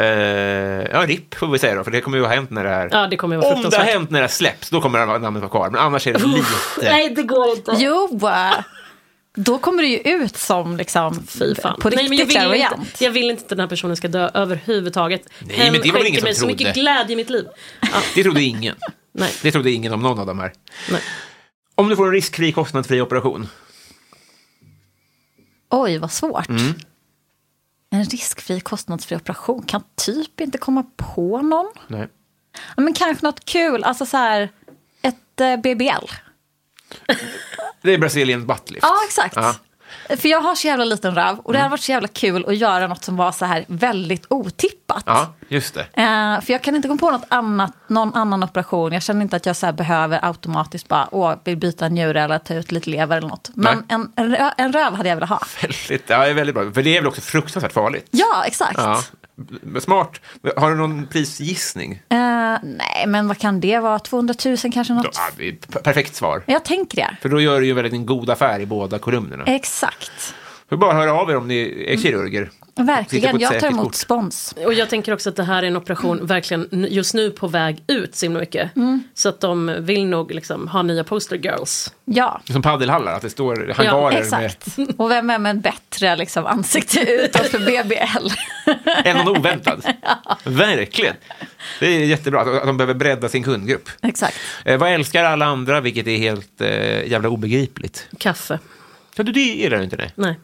Eh, ja, RIP får vi säga då, för det kommer ju ha hänt när det här...
Ja, det kommer ju vara
Om det har
fruktansvärt.
hänt när det här släpps, då kommer det här namnet vara kvar. Men annars är det lite...
Nej, det går inte.
Jo, eh, då kommer det ju ut som liksom
Fy fan.
på riktigt
Nej, men jag, vill ju
clairvoyant.
inte, jag vill inte att den här personen ska dö överhuvudtaget.
Nej, men det var väl
skänker
ingen som
mig så mycket
trodde.
glädje i mitt liv. Ja,
Det trodde ingen.
nej,
Det trodde ingen om någon av de här.
nej.
Om du får en riskfri, kostnadsfri operation.
Oj, vad svårt.
Mm.
En riskfri, kostnadsfri operation. Kan typ inte komma på någon.
Nej.
Ja, Men kanske något kul, alltså så här, ett eh, BBL.
Det är Brasilien buttlift.
Ja, exakt.
Ja.
För jag har så jävla liten röv och det
Mm.
hade varit så jävla kul att göra något som var så här väldigt otippat.
Ja, just det.
Eh, för jag kan inte komma på något annat, någon annan operation. Jag känner inte att jag så här behöver automatiskt bara, åh, vill byta en njure eller ta ut lite lever eller något. Men
Nej.
en, en, rö, en röv hade jag velat ha.
Väldigt, ja, det är väldigt bra. För det är väl också fruktansvärt farligt.
Ja, exakt.
Ja. Smart. Har du någon prisgissning?
Eh, nej, men vad kan det vara? 200 000 kanske något?
Ja, det är p- perfekt svar.
Jag tänker det.
För då gör du ju väldigt en god affär i båda
Eh.
kolumnerna.
Exakt.
Får bara höra av er om ni är kirurger. Sitter på
Mm. Verkligen,
ett
jag tar
säkert
emot
kort.
spons.
Och jag tänker också att det här är en operation verkligen n- just nu på väg ut så himla mycket. Så att de vill nog liksom ha nya poster girls.
Ja,
Som paddelhallar, att det står hangarer med...
exakt. Och vem är med en bättre liksom, ansikte utåt för BBL?
Än någon oväntad. Verkligen. Det är jättebra att att de behöver bredda sin kundgrupp.
exakt.
Eh, vad älskar alla andra, vilket är helt eh, jävla obegripligt?
Kaffe.
Ja, du, det gillar du inte det.
Nej.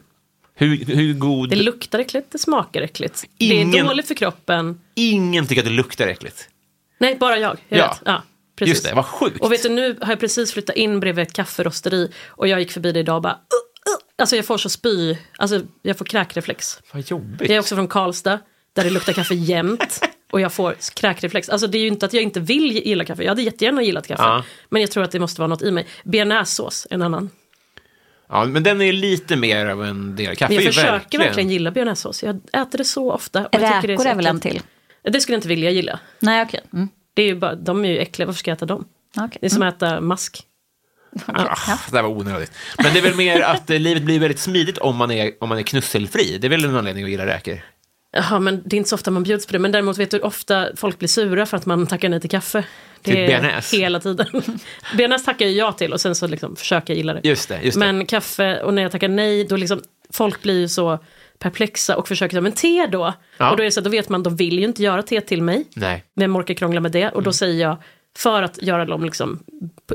Hur, hur god...
Det luktar äckligt, det smakar äckligt. Det är
Ingen-
dåligt för kroppen.
Ingen tycker att det luktar äckligt.
Nej, bara jag. jag
Ja.
vet. ja precis.
Just det, vad sjukt.
Och vet du, nu har jag precis flyttat in bredvid ett kafferosteri och jag gick förbi det idag och bara... "Uh, uh." Alltså jag får så spy, alltså jag får kräkreflex.
Vad jobbigt.
Jag är också från Karlstad, där det luktar kaffe jämt. Och jag får kräkreflex. Alltså det är ju inte att jag inte vill gilla kaffe, jag hade jättegärna gillat kaffe.
Ja.
Men jag tror att det måste vara något i mig. Bearnaisesås, en annan.
Ja, men den är lite mer av en del. Kaffe
Men jag
är
försöker verkligen,
verkligen...
gilla bearnaisesås, jag äter det så ofta. Och jag tycker det
Räkor
så
är väl en
äckligt.
till?
Det skulle jag inte vilja gilla.
Nej, okej. Mm.
Det är ju bara, de är ju äckliga, varför ska jag äta dem?
Okej.
Det är som att äta mask.
Ah, det där var onödigt. Men det är väl mer att eh, livet blir väldigt smidigt om man, är, om man är knusselfri. Det är väl en anledning att gilla räkor.
Jaha, men det är inte så ofta man bjuds på det. Men däremot vet du hur ofta folk blir sura för att man tackar nej till kaffe. Det
Till Typ
är
bearnaise.
hela tiden. bearnaise tackar ju jag till och sen så liksom försöker jag gilla det.
Just det, just det.
Men kaffe, och när jag tackar nej, då liksom folk blir ju så perplexa och försöker ta, men te då?
Ja.
Och då är det så att då vet man, de vill ju inte göra te till mig.
Nej.
Vem orkar krångla med det?
Mm.
Och då säger jag, för att göra dem liksom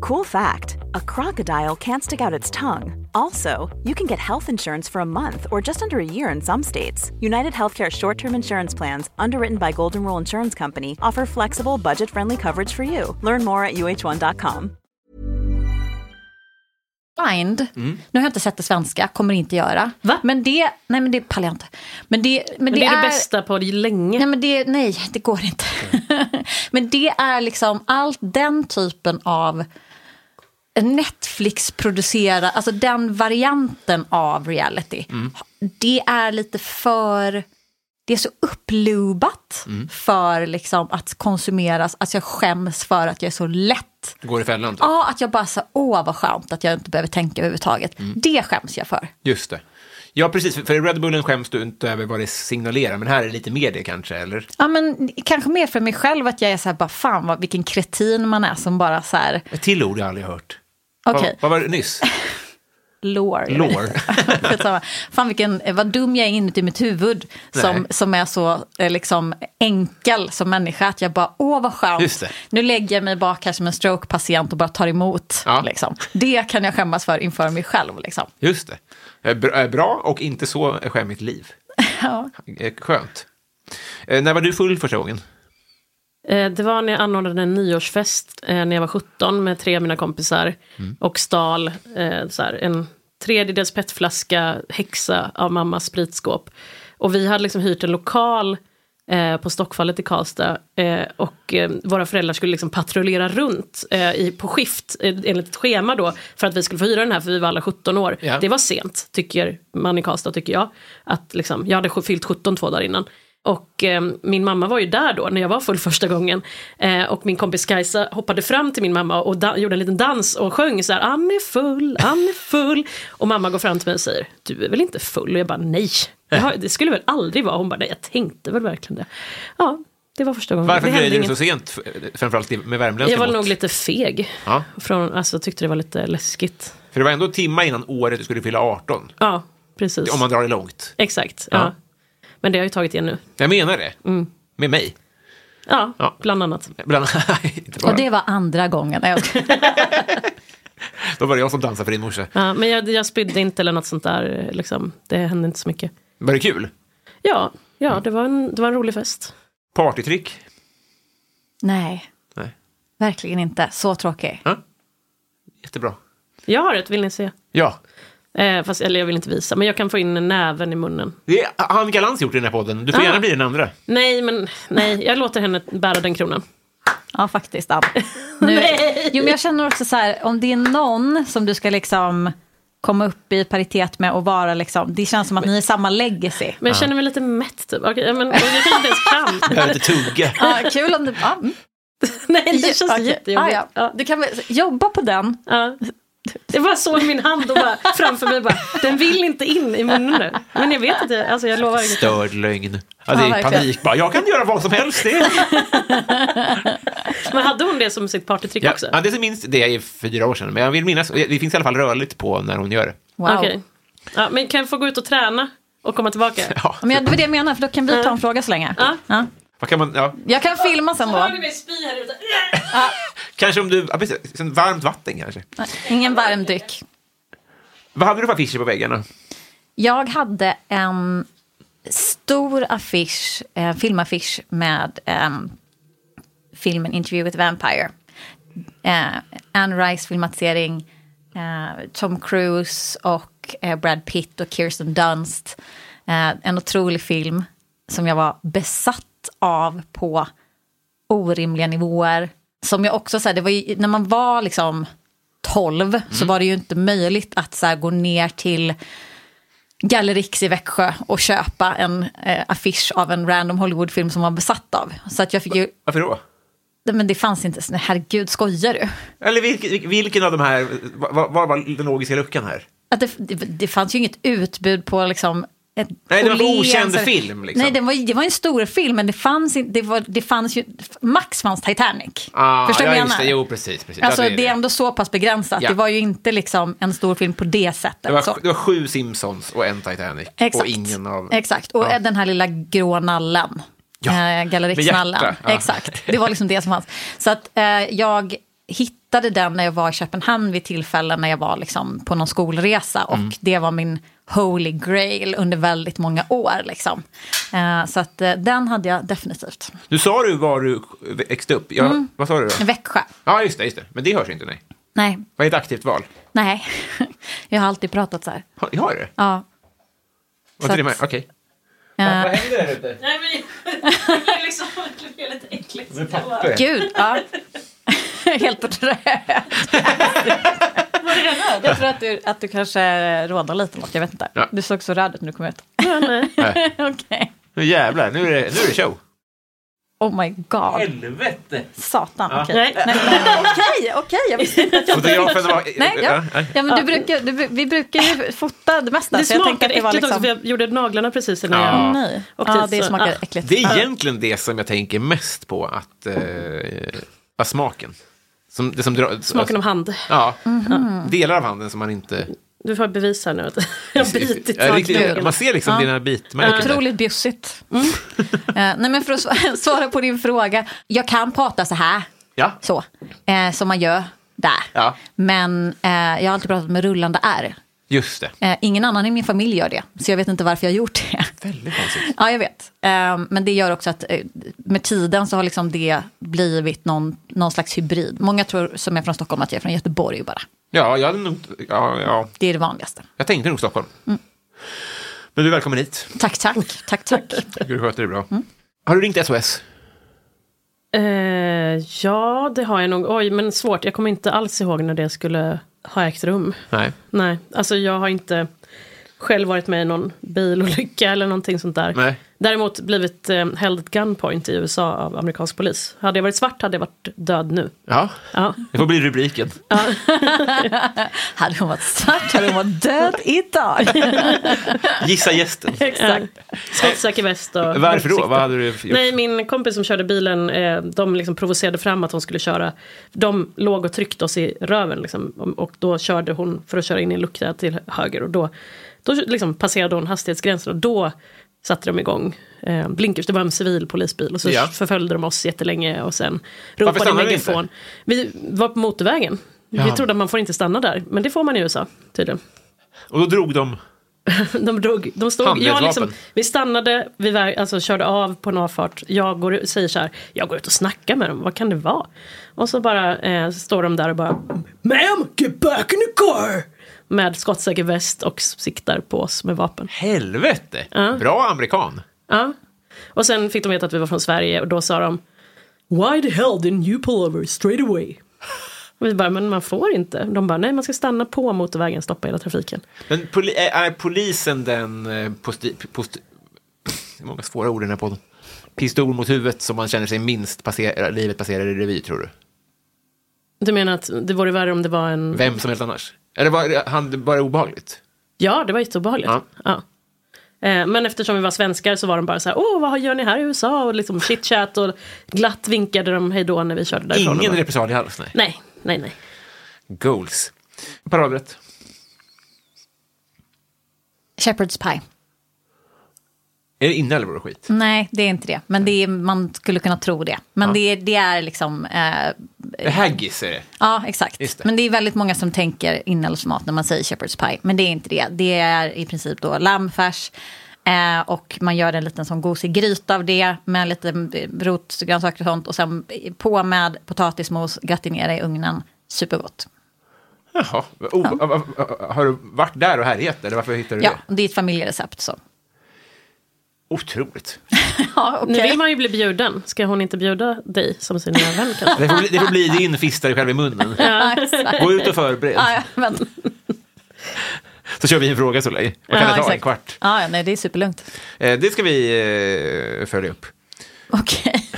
Cool fact a crocodile can't stick out its tongue. Also, you can get health insurance for a month or just under a year in some states. United Healthcare short term insurance plans, underwritten by Golden Rule Insurance Company, offer flexible, budget friendly coverage for you. Learn more at uh1.com.
Bind. Nu har jag inte sett det svenska, kommer inte göra.
Mm. Va?
Men det, nej men det pallar jag inte. Men det, men
Men det, är det bästa på länge.
Nej, men det, nej, det går inte. men det är liksom allt den typen av Netflix producerar, alltså den varianten av reality. Det är lite för, det är så upplubat för liksom att konsumeras. Alltså jag skäms för att jag är så lätt.
Går i fällan. typ.
Ja, att jag bara så, åh vad skönt att jag inte behöver tänka överhuvudtaget. Det skäms jag för.
Just det. Ja, precis. För i Red Bullen skäms du inte över vad det signalerar, men här är det lite mer det kanske, eller?
Ja, men kanske mer för mig själv att jag är så här, bara fan vad, vilken kretin man är som bara så här,
Ett till ord jag aldrig hört.
okej.
Vad, vad var det nyss?
Lore.
Lore.
Skitsamma. Fan vilken, vad dum jag är inuti mitt huvud som,
Nej.
som är så eh, liksom, enkel som människa att jag bara, åh vad
Just
skönt,
det.
nu lägger jag mig bak här som en strokepatient och bara tar emot.
Ja.
Liksom. Det kan jag skämmas för inför mig själv. Liksom.
Just det. Eh, br- eh, Bra och inte så skämmigt liv.
Ja.
Eh, Skönt. Eh, När var du full första gången?
Eh, Det var när jag anordnade en nyårsfest eh, när jag var 17 med tre av mina kompisar och stal eh, så här, en tredjedels petflaska häxa av mammas spritskåp. Och vi hade liksom hyrt en lokal eh, på Stockfallet i Karlstad eh, och eh, våra föräldrar skulle liksom patrullera runt eh, i, på skift eh, enligt ett schema då för att vi skulle få hyra den här för vi var alla 17 år.
Ja.
Det var sent, tycker man i Karlstad, tycker jag. Att liksom, jag hade sj- fyllt 17 två dagar innan. Och eh, min mamma var ju där då när jag var full första gången. Eh, och min kompis Kajsa hoppade fram till min mamma och da- gjorde en liten dans och sjöng så här, han är full, han är full. Och mamma går fram till mig och säger, du är väl inte full? Och jag bara, nej, jag har, det skulle väl aldrig vara. Hon bara, nej, jag tänkte väl verkligen det. Ja, det var första gången.
Varför
det hände
dröjde det
inget.
så sent, f- eh, framförallt i- med värmländska
Jag var
mått?
nog lite feg.
Ja.
Från, alltså, jag tyckte det var lite läskigt.
För det var ändå timmar innan året du skulle fylla 18,
Ja, precis.
om man drar det långt.
Exakt. Ja.
Ja.
Men det har jag ju tagit igen nu.
Jag menar det.
Mm.
Med mig.
Ja,
Ja.
bland annat.
Bland inte bara.
Och det var andra gången. Nej, jag skojar.
Då var det jag som dansade för din morsa.
Ja, men jag, jag spydde inte eller något sånt där. eh, Liksom. Det hände inte så mycket.
Var det kul?
Ja, ja det, var en, det var en rolig fest.
Partytrick?
Nej.
Nej.
verkligen inte. Så tråkig.
Jättebra.
Jag har ett, vill ni se?
Ja.
Eh, fast, eller jag vill inte visa, men jag kan få in näven i munnen.
Det är- har Annika Lantz gjort i den här podden. Du får
Ah.
gärna bli den andra.
Nej, men nej, jag låter henne bära den kronan.
Ja, faktiskt. Ann. Nu, jo, men jag känner också så här, om det är någon som du ska liksom komma upp i paritet med och vara liksom, det känns som att ni är samma legacy.
Men jag känner mig lite mätt typ. Okej, ja, men, jag kanske inte ens kan.
Behöver inte tugga.
Ja, kul om du... Ja. mm.
nej, det känns
Okej.
jättejobbigt.
Ja, ja.
Ah, Ja.
Du kan väl jobba på den.
Ja. Det var så i min hand och bara framför mig bara, den vill inte in i munnen nu. Men jag vet inte, alltså jag lovar. inget.
Störd lögn. Ja, det är
verkligen.
panik bara. Jag kan göra vad som helst. Det är...
Men hade hon det som sitt partytrick
ja.
också?
Ja, det är minst det är fyra år sedan, men jag vill minnas. Det finns i alla fall rörligt på när hon gör det.
Wow.
Okej. Ja, men kan jag få gå ut och träna och komma tillbaka?
Ja.
Men jag, det var det jag menade, för då kan vi ta en fråga så länge.
Ja.
Ja.
Vad kan man, ja.
Jag kan filma sen då.
mig spy här ute.
Kanske om du... Ja, precis. Sen varmt vatten kanske.
Ingen varm dryck.
Vad hade du för affischer på väggarna?
Jag hade en stor affisch, eh, filmaffisch med ehm, filmen Interview with a Vampire. Eh, Anne Rice filmatisering, eh, Tom Cruise och eh, Brad Pitt och Kirsten Dunst. Eh, en otrolig film som jag var besatt av på orimliga nivåer. Som jag också, så här, det var ju, när man var liksom 12 så var det ju inte möjligt att så här, gå ner till Gallerix i Växjö och köpa en eh, affisch av en random Hollywoodfilm som man var besatt av. Så att jag fick ju,
Varför då?
Nej, men det fanns inte, så- herregud skojar du?
Eller vilken, vilken av de här... Vad vad var den logiska luckan här?
Att det, det, det fanns ju inget utbud på liksom ett
Nej, det var en
Åhléns
okänd
eller-
film, liksom.
Nej, det var, det var en stor film, men det fanns, inte- det var, det fanns ju... Max fanns Titanic.
Ah,
Förstår du vad
ja,
jag
just det.
menar?
Jo, precis. precis.
Alltså,
ja,
det är ändå så pass begränsat.
Ja.
Det var ju inte liksom en stor film på det sättet.
Det var,
så.
det var sju Simpsons och en Titanic. Och ingen av...
Exakt, och
Ja.
den här lilla grå nallen.
Ja,
Eh,
med hjärta.
Gallerixnallen.
Ja.
Exakt, det var liksom det som fanns. Så att eh, jag hittade hittade den när jag var i Köpenhamn vid tillfällen när jag var liksom på någon skolresa
Mm.
och det var min holy grail under väldigt många år. Liksom. Eh, så att eh, den hade jag definitivt.
Du sa du var du växte upp. Ja,
Mm.
Vad sa du då?
Växjö.
Ja, just det, just det. Men det hörs inte, nej.
Nej,
Vad är ett aktivt val?
nej. jag har alltid pratat så här.
Har, har du det?
Ja.
Var inte det
att-
med? Okej.
Eh,
Vad händer där ute?
Nej, men det är liksom det är lite äckligt.
Med papper?
Gud, ja. Helt på trä. Jag tror att du, att du kanske rådar lite något, jag vet inte.
Ja.
Du såg så röd ut när du kom ut. Okej.
Nu jävlar, nu är det, nu är det show.
Oh my god.
Helvete!
Satan,
Ja.
okej.
Nej.
Nej, men Okej, okej, jag visste inte att jag...
Fotografen var...
Nej, ja.
Ja, nej.
ja men du brukar, du, bru- vi brukar ju fota det mesta.
Det
så alltså, jag tänkte
smakar
att det
äckligt
var
också, för
liksom...
jag gjorde naglarna precis innan
Ja. Alltså-
jag...
Nej.
Och
Ja,
dit
det
så-
smakar
ja.
äckligt.
Det är egentligen det som jag tänker mest på, att... Eh, att smaken. Som, det som drar,
Smaken av hand.
Ja,
Mhm.
delar av handen som man inte...
Du får bevisa nu att jag har bitit
Ja, riktigt,
naglarna.
man ser liksom dina bitmärken. där.
Otroligt bjussigt. Eh, nej men för att sva- svara på din fråga. Jag kan prata så här.
Ja.
Så. Eh, som man gör där.
Ja.
Men eh, jag har alltid pratat med rullande R.
Just det.
Eh, ingen annan i min familj gör det. Så jag vet inte varför jag har gjort det.
Väldigt konstigt.
Ja, jag vet. Eh, men det gör också att eh, med tiden så har liksom det blivit någon, någon slags hybrid. Många tror, som är från Stockholm, att jag är från Göteborg bara.
Ja, jag, hade nog, ja, ja,
Det är det vanligaste.
jag tänkte nog Stockholm. Men du är välkommen hit.
Tack, tack. Tack, tack.
Jag tycker Du sköter det bra. Har du ringt SOS?
Eh, ja, det har jag nog. Oj, men svårt. Jag kommer inte alls ihåg när det skulle ha ägt rum.
Nej.
Nej, alltså jag har inte själv varit med i någon bilolycka eller någonting sånt där.
Nej.
Däremot blivit eh, held at gunpoint i USA av amerikansk polis. Hade jag varit svart hade jag varit död nu.
Ja,
Ja.
det får bli rubriken.
Hade hon varit svart hade hon varit död idag.
Gissa gästen.
Exakt. Skottsäker väst och...
Varför då?
mörksikte.
Vad hade du gjort?
Nej, min kompis som körde bilen, eh, de liksom provocerade fram att hon skulle köra. De låg och tryckte oss i röven liksom, och- och då körde hon för att köra in i en lucka till höger och då, då liksom passerade hon hastighetsgränsen och då satte de igång eh, blinkers. Det var en civil polisbil och så
Ja.
förföljde de oss jättelänge och sen
Varför
ropade i
stannade ni
megafon. Vi var på motorvägen. Vi trodde att man får inte stanna där, men det får man i USA tydligen.
Och då drog de...
De drog, de stod, jag
Handledsvapen.
liksom, vi stannade, vi vä- alltså, körde av på en avfart. Jag går, ut- säger så här, jag går ut och snackar med dem, vad kan det vara? Och så bara eh, står de där och bara, Ma'am, get back in the car! Med skottsäker väst och siktar på oss med vapen.
Helvete! Bra amerikan.
Ja. Och sen fick de veta att vi var från Sverige och då sa de, Why the hell didn't you pull over straight away? Och vi bara, men man får inte. De bara, nej man ska stanna på motorvägen, stoppa hela trafiken.
Men poli- är- är polisen den... eh, Posti- posti- det är många svåra ord i den här podden. Pistol mot huvudet som man känner sig minst passera, livet passerar i revy, tror du?
Du menar att det vore värre om det var en...
Vem som helst annars? Eller var han det bara obehagligt?
Ja, det var jätteobehagligt.
Ja.
Ja. Eh, Men eftersom vi var svenskar så var de bara så här, åh vad gör ni här i USA? Och liksom chitchat och glatt vinkade de hej då när vi körde därifrån.
Ingen
Och bara,
repressalie alls, nej.
Nej, nej, nej.
Goals. Paradrätt.
Shepherd's pie.
Är det inne eller var det skit?
Nej, det är inte det. Men det är, man skulle kunna tro det. Men det, är- det är liksom... Eh,
Haggis är det.
ja, exakt.
Just det.
Men det är väldigt många som tänker inälvsmat när man säger shepherd's pie. Men det är inte det. Det är i princip då lammfärs. Eh, och man gör en liten sån gosig gryta av det med lite eh, rotgrönsaker och sånt. Och sen på med potatismos, gratinera i ugnen. Supergott.
Jaha. O- Har du varit där och härjat eller varför hittade du
Ja,
det?
det är ett familjerecept så.
Otroligt.
Ja,
Nu
okej.
vill man ju bli bjuden. Ska hon inte bjuda dig som sin nya vän kanske?
Det får bli, det får bli din fistare själv i munnen.
Ja, exakt.
Gå ut och förbered.
Ja, ja, men,
Så kör vi en fråga så länge. Vad kan det
ja,
ta? En
exakt.
kvart?
Ja, ja, nej, det är superlugnt.
Eh, Det ska vi eh, följa upp.
Okej.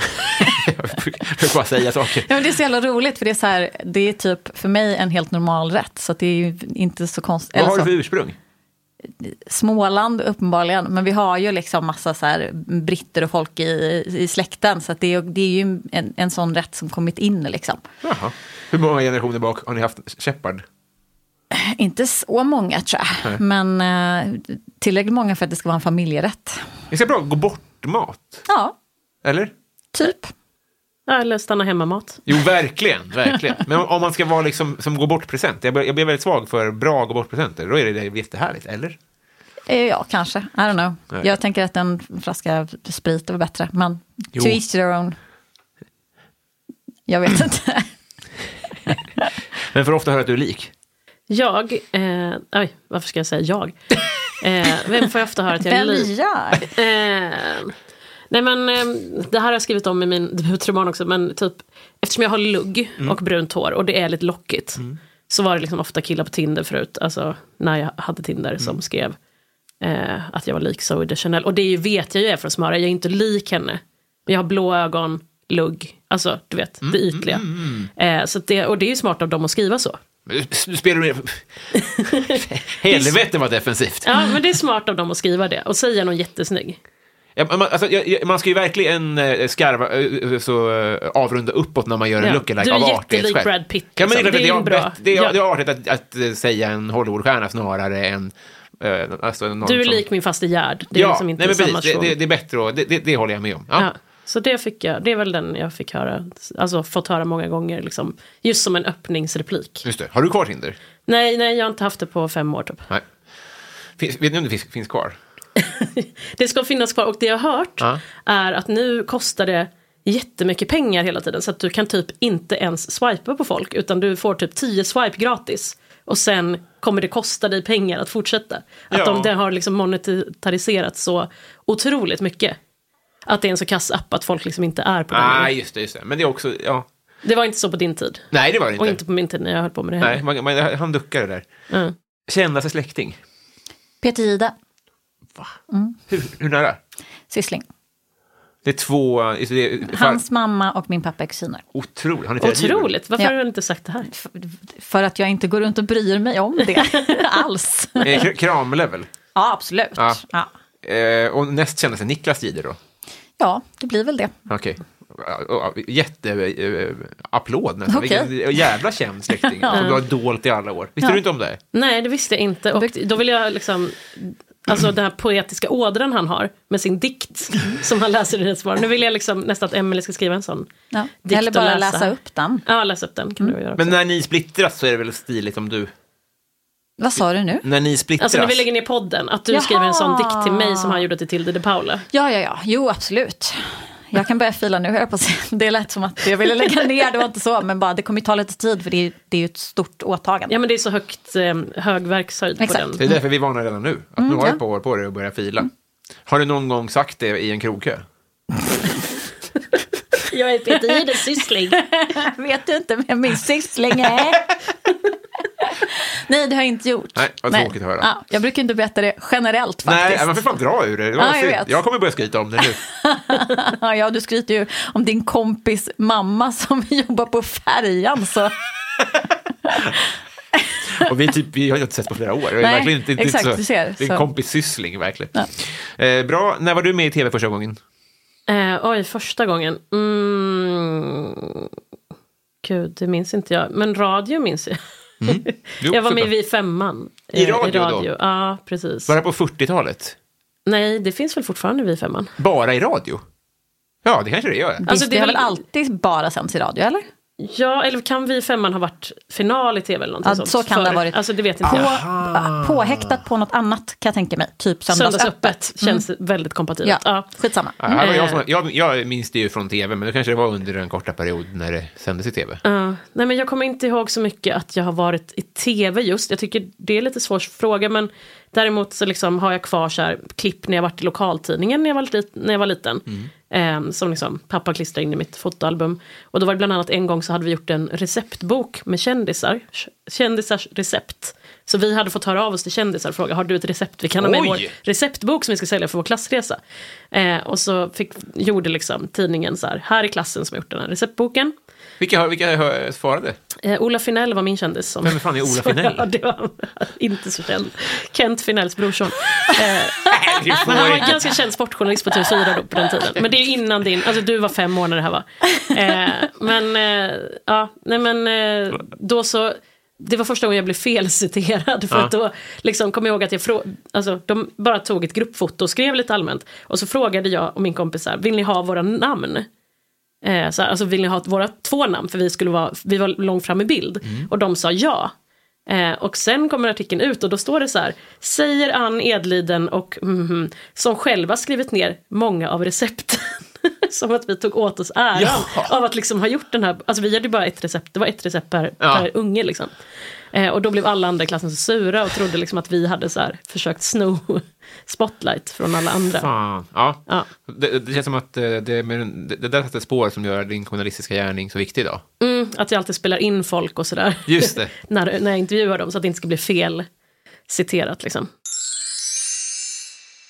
Jag får bara säga saker.
Ja, men det är så jävla roligt för det är, så här, det är typ för mig en helt normal rätt. Så att det är ju inte så konstigt.
Vad
Eller
har du
så,
för ursprung?
Småland uppenbarligen, men vi har ju liksom massa så här britter och folk i, i släkten. Så att det, är, det är ju en, en sån rätt som kommit in liksom.
Jaha. Hur många generationer bak har ni haft Shepard?
Inte så många tror jag, men eh, tillräckligt många för att det ska vara en familjerätt.
Det ska bra gå bort mat,
Ja,
eller?
typ.
Ja, Eller stanna hemma-mat.
Jo, verkligen. verkligen. Men om, om man ska vara liksom, som gå bort-present, jag, bör- jag blir väldigt svag för bra gå bort-presenter, då är det jättehärligt, eller?
Eh, Ja, kanske. I don't know.
Nej.
Jag tänker att en flaska sprit var bättre, men
Jo.
to each their own. Jag vet inte.
Men för ofta hör jag att du är lik.
Jag, eh, oj, varför ska jag säga jag? Eh, vem får jag ofta höra att jag är
Vem
lik?
gör?
Eh, nej men, eh, det här har jag skrivit om i min debutroman också, men typ, eftersom jag har lugg
Mm.
och brunt hår och det är lite lockigt, så var det liksom ofta killar på Tinder förut, alltså när jag hade Tinder,
Mm.
som skrev eh, att jag var lik Zoe de Chanel. Och det är ju, vet jag ju är från Smöra, jag är inte lik henne. Men jag har blå ögon, lugg, alltså du vet,
Mm,
det ytliga. Eh, så att det, och det är ju smart av dem att skriva så.
Du du spelar med... Helvete vad defensivt.
Ja, men det är smart av dem att skriva det och säga någon jättesnygg.
Ja, man, alltså, jag- jag- man ska ju verkligen eh, skarva, eh, eh, så, eh, avrunda uppåt när man gör en
Ja.
lookalike
Du är
av artighetsskäl.
jättelik Brad Pitt,
Ja, men
liksom.
det, är
Det är
klart
ju
att
bra.
det, är,
Ja.
det är artigt att, att eh, säga en Hollywoodstjärna snarare än... eh, alltså, någon
Du är
som,
lik min faste Gerd, det är
ja,
liksom inte
nej, men
samma
precis,
person.
det, det, det är bättre att, det, det, det håller jag med om. Ja.
Ja. Så det, fick jag, det är väl den jag fick höra, alltså fått höra många gånger, liksom, just som en öppningsreplik.
Just det. Har du kvar Tinder?
Nej, nej, jag har inte haft det på fem år typ.
Nej. Finns, vet ni om det finns, finns kvar?
Det ska finnas kvar och det jag har hört
Ja.
är att nu kostar det jättemycket pengar hela tiden så att du kan typ inte ens swipa på folk utan du får typ 10 swipe gratis och sen kommer det kosta dig pengar att fortsätta. Att
Ja.
de, det har liksom monetariserat så otroligt mycket. Att det är en så kass app att folk liksom inte är på den.
Nej, just det, just det. Men det är också, ja.
Det var inte så på din tid.
Nej, det var det inte.
Och inte på min tid när jag höll på med det
Nej,
heller.
man, man, han duckar det där.
Mm.
Kända sig släkting.
Peter Jihde,
Hur, hur nära?
syssling.
Det är två... just Det är,
Hans mamma och min pappa är kusiner.
Otroligt. Han är fyra djur.
Otroligt, varför
Ja.
har du inte sagt det här?
För att jag inte går runt och bryr mig om det alls.
Eh, kr- Kramlevel.
Ja, absolut.
Ja.
Ja. Ja.
Eh, och näst kändes det Niklas Jihde då.
det blir väl det.
Okej. Okay. Jätteapplåd eh, nästan.
Okej.
Vilken jävla känd släkting som du har dolt i alla år. Visste du inte om det?
Nej, det visste jag inte. Och då vill jag liksom... Alltså den här poetiska ådran han har med sin dikt som han läser i Nyhetsmorgon. Nu vill jag liksom nästan att Emelie ska skriva en sån.
Ja.
Dikt
Eller
att
bara
läsa.
läsa. upp den.
Ja, läs upp den kan du göra också.
Men när ni splittras så är det väl stiligt om du...
Vad sa du nu?
När ni splittras.
Alltså när vi lägger ner podden, att du
Jaha.
skriver en sån dikt till mig som han gjorde till Tilde de Paula.
Ja, ja, ja. Jo, absolut. Jag kan börja fila nu, höll jag på att säga. Det lät som att jag ville lägga ner, det var inte så. Men bara, det kommer ju ta lite tid, för det är, ju- det är ju ett stort åtagande.
Ja men det är så högt, eh, hög verkshöjd
Exakt.
på
Det är
den.
därför vi varnar redan nu. Att nu har du
Mm, ja.
ett par år på dig att börja fila. Har du någon gång sagt det i en krogkö?
Jag är Peter Jihdes syssling.
Vet du inte vem min syssling är? Nej, det har jag inte gjort.
Nej, vad
Nej.
tråkigt att höra.
Ja, jag brukar inte berätta det generellt faktiskt.
Nej, man får fan dra ur det. det var
Ja, jag
synd.
vet.
jag kommer börja skryta om det nu.
Ja, ja, du skryter ju om din kompis mamma som jobbar på färjan. Så.
Alltså,
Och vi, typ, vi har ju inte sett på flera år. Nej,
Nej,
verkligen inte, inte
exakt,
så,
du ser,
Det är en
så.
kompissyssling, verkligen. Eh, bra. När var du med i tv första gången?
Eh, oj, första gången. Mm. Gud, det minns inte jag. Men radio minns jag.
Mm. Jo,
jag var med
såklart.
i Vi femman.
I
eh,
radio då?
Ja, precis.
Var det på 40-talet?
Nej, det finns väl fortfarande Vi femman?
Bara i radio? Ja, det kanske det gör.
Alltså,
det,
det är
har väl
väl-
alltid bara sänts i radio, eller?
Ja, eller kan Vi femman ha varit final i tv eller någonting
Ja,
sånt?
så kan det
förr?
ha varit.
Alltså, det vet inte jag.
På, äh, påhäktat på något annat, kan jag tänka mig. Typ Söndagsöppet. Mm.
Söndagsöppet känns väldigt kompatibelt.
Ja,
Ja.
skitsamma.
Ja, här var jag, som, jag, jag minns det ju från tv, men det kanske det var under den korta period när det sändes i tv.
Ja. nej, men jag kommer inte ihåg så mycket att jag har varit i tv just. Jag tycker det är lite svår fråga men däremot så liksom har jag kvar så här, klipp när jag varit i lokaltidningen när jag var, lit- när jag var liten. Eh, som liksom, pappa klistrade in i mitt fotoalbum. Och då var det bland annat en gång så hade vi gjort en receptbok med kändisar. k- Kändisars recept. Så vi hade fått höra av oss till kändisar och fråga har du ett recept vi kan ha med
Oj!
i vår receptbok som vi ska sälja för vår klassresa. Eh, och så fick, gjorde liksom tidningen så här, här är klassen som har gjort den här receptboken.
Vilka, har- vilka har- svarade?
Eh, Ola Finell var min kändis. Som,
Vem fan är Ola
så-
Finell?
Ja, det var han. inte så känd. Kent Finells brorson.
Nej, det får
Men han
jag
var en
inte.
ganska känd sportjournalist på TV4 då, på den tiden. Men det är ju innan din, alltså du var fem år när det här var. Eh, men, eh, ja, nej men eh, då så, det var första gången jag blev felciterad. För
Ja.
att då liksom, kom jag ihåg att jag frå- alltså, de bara tog ett gruppfoto och skrev lite allmänt. Och så frågade jag och min kompis så här, vill ni ha våra namn? Eh, Eh, så här, alltså, vill ni ha våra två namn? För vi, skulle vara, vi var långt fram i bild. Och de sa ja. Eh, och sen kommer artikeln ut och då står det så här, säger Ann Edliden och mhm, som själva skrivit ner många av recepten. som att vi tog åt oss äran av att liksom ha gjort den här, alltså vi hade ju bara ett recept, det var ett recept per,
Ja.
per unge liksom. Eh, och då blev alla andra i klassen så sura och trodde liksom att vi hade så här, försökt sno spotlight från alla andra.
Fan, ja.
Ja.
Det, det känns som att eh, det, med den- det, det där satte spår som gör din journalistiska gärning så viktig idag.
Mm, att jag alltid spelar in folk och sådär.
Just det.
när, när jag intervjuar dem så att det inte ska bli fel citerat liksom.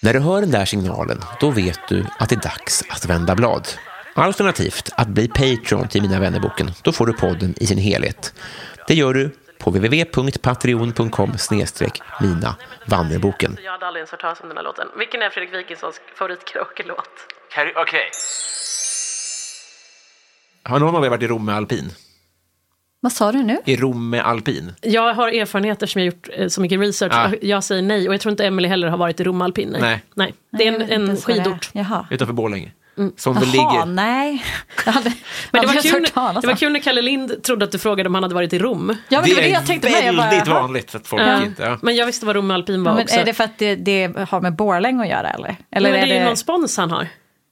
När du hör den där signalen, då vet du att det är dags att vända blad. Alternativt att bli Patreon till Mina vännerboken. Då får du podden i sin helhet. Det gör du på www.patreon.com mina vannerboken.
Jag hade aldrig ens hört talas om den här låten. Vilken är Fredrik Wikingssons favoritkaraoke-låt?
Okej. Har någon av er varit i Rom med alpin?
Vad sa du nu?
I Rom med alpin?
Jag har erfarenheter som jag gjort eh, så mycket research.
Ah.
Jag säger nej och jag tror inte Emelie heller har varit i Rom alpin. Nej.
Nej.
Det är
Jag
en,
vet inte
en
ens vad det är.
skidort.
Jaha.
Utanför Borlänge? Som väl
Mm. Jaha,
ligger...
nej. Jag hade,
Men det
hade
var,
jag
kul,
hört talas
det var
om.
kul när Kalle Lind trodde att du frågade om han hade varit i Rom.
Ja, men det, var det
är
jag tänkte med. Jag bara,
väldigt
jaha.
vanligt att folk
Ja.
inte... Ja.
Men jag visste vad Rom alpin var
Men
också.
är det för att det, det har med Borlänge att göra eller? eller
Nej, men det är ju någon spons han har.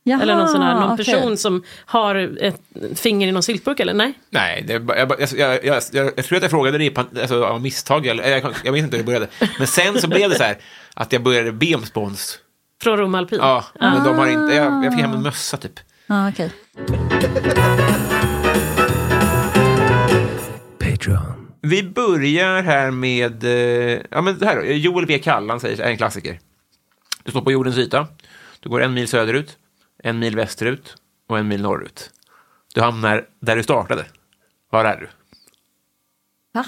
Jaha,
eller någon, sån här, någon
okej.
person som har ett finger i någon syltburk eller? Nej.
Nej, det, är bara- jag, bara- jag, jag, jag, jag, jag tror att jag frågade dig pan- alltså, av misstag, eller, jag, jag minns inte hur det började. Men sen så blev det så här att jag började be om spons.
Från Rom alpin.
Ja, men de har inte, jag, jag fick hem en mössa typ.
Ja, okej.
Patreon.
Vi börjar här med, eh, ja men det här då, Joel B. Kallan säger, är en klassiker. Du står på jordens yta, du går en mil söderut, en mil västerut och en mil norrut. Du hamnar där du startade. Var är du?
Va?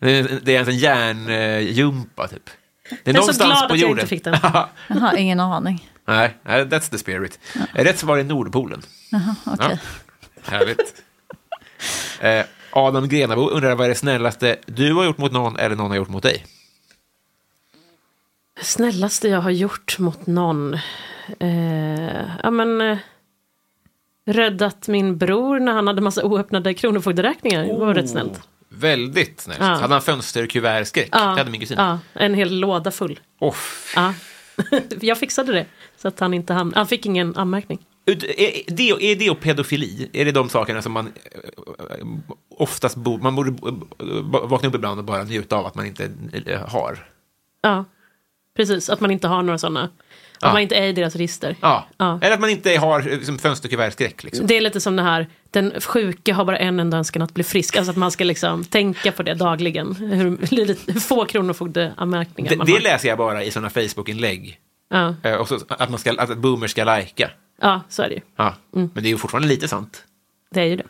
Det är- det är alltså en järnjumpa typ. Det är
Jag är så
någonstans
glad
på
att jag
jorden.
inte fick den.
Jaha, ingen aning.
Nej, nej, that's the spirit. Rätt svar är Nordpolen.
Okej.
Härligt. Eh, Adam Grenabo undrar vad är det snällaste du har gjort mot någon eller någon har gjort mot dig?
Snällaste jag har gjort mot någon. Eh, ja, men, eh, räddat min bror när han hade massa oöppnade kronofogderäkningar. Det var
Oh.
rätt snällt.
Väldigt snällt.
Ja.
Hade han fönsterkuvertskräck? Det hade min kusin.
Ja, en hel låda full.
Åh, f-
Ja. jag fixade det så att han inte hamnade. Han fick ingen anmärkning.
Ut- Är, är, det, är det och pedofili? Är det de sakerna som man eh, eh, oftast borde... Man borde eh, vakna upp ibland och bara njuta av att man inte eh, har?
Ja, precis. Att man inte har några sådana. Att
Ja.
man inte är i deras register.
Ja.
Ja.
Eller att man inte har eh, liksom, fönsterkuvertskräck. Liksom.
Det är lite som det här, den sjuke har bara en enda önskan att bli frisk. Alltså att man ska liksom tänka på det dagligen. Hur, lite- hur få kronofogdeanmärkningar
Det,
man
det
har.
läser jag bara i sådana Facebook-inlägg.
Ja,
Eh, Och så, att, man ska, att boomers ska lajka.
ja, så är det ju.
Ja.
Mm.
Men det är ju fortfarande lite sant.
Det är ju det.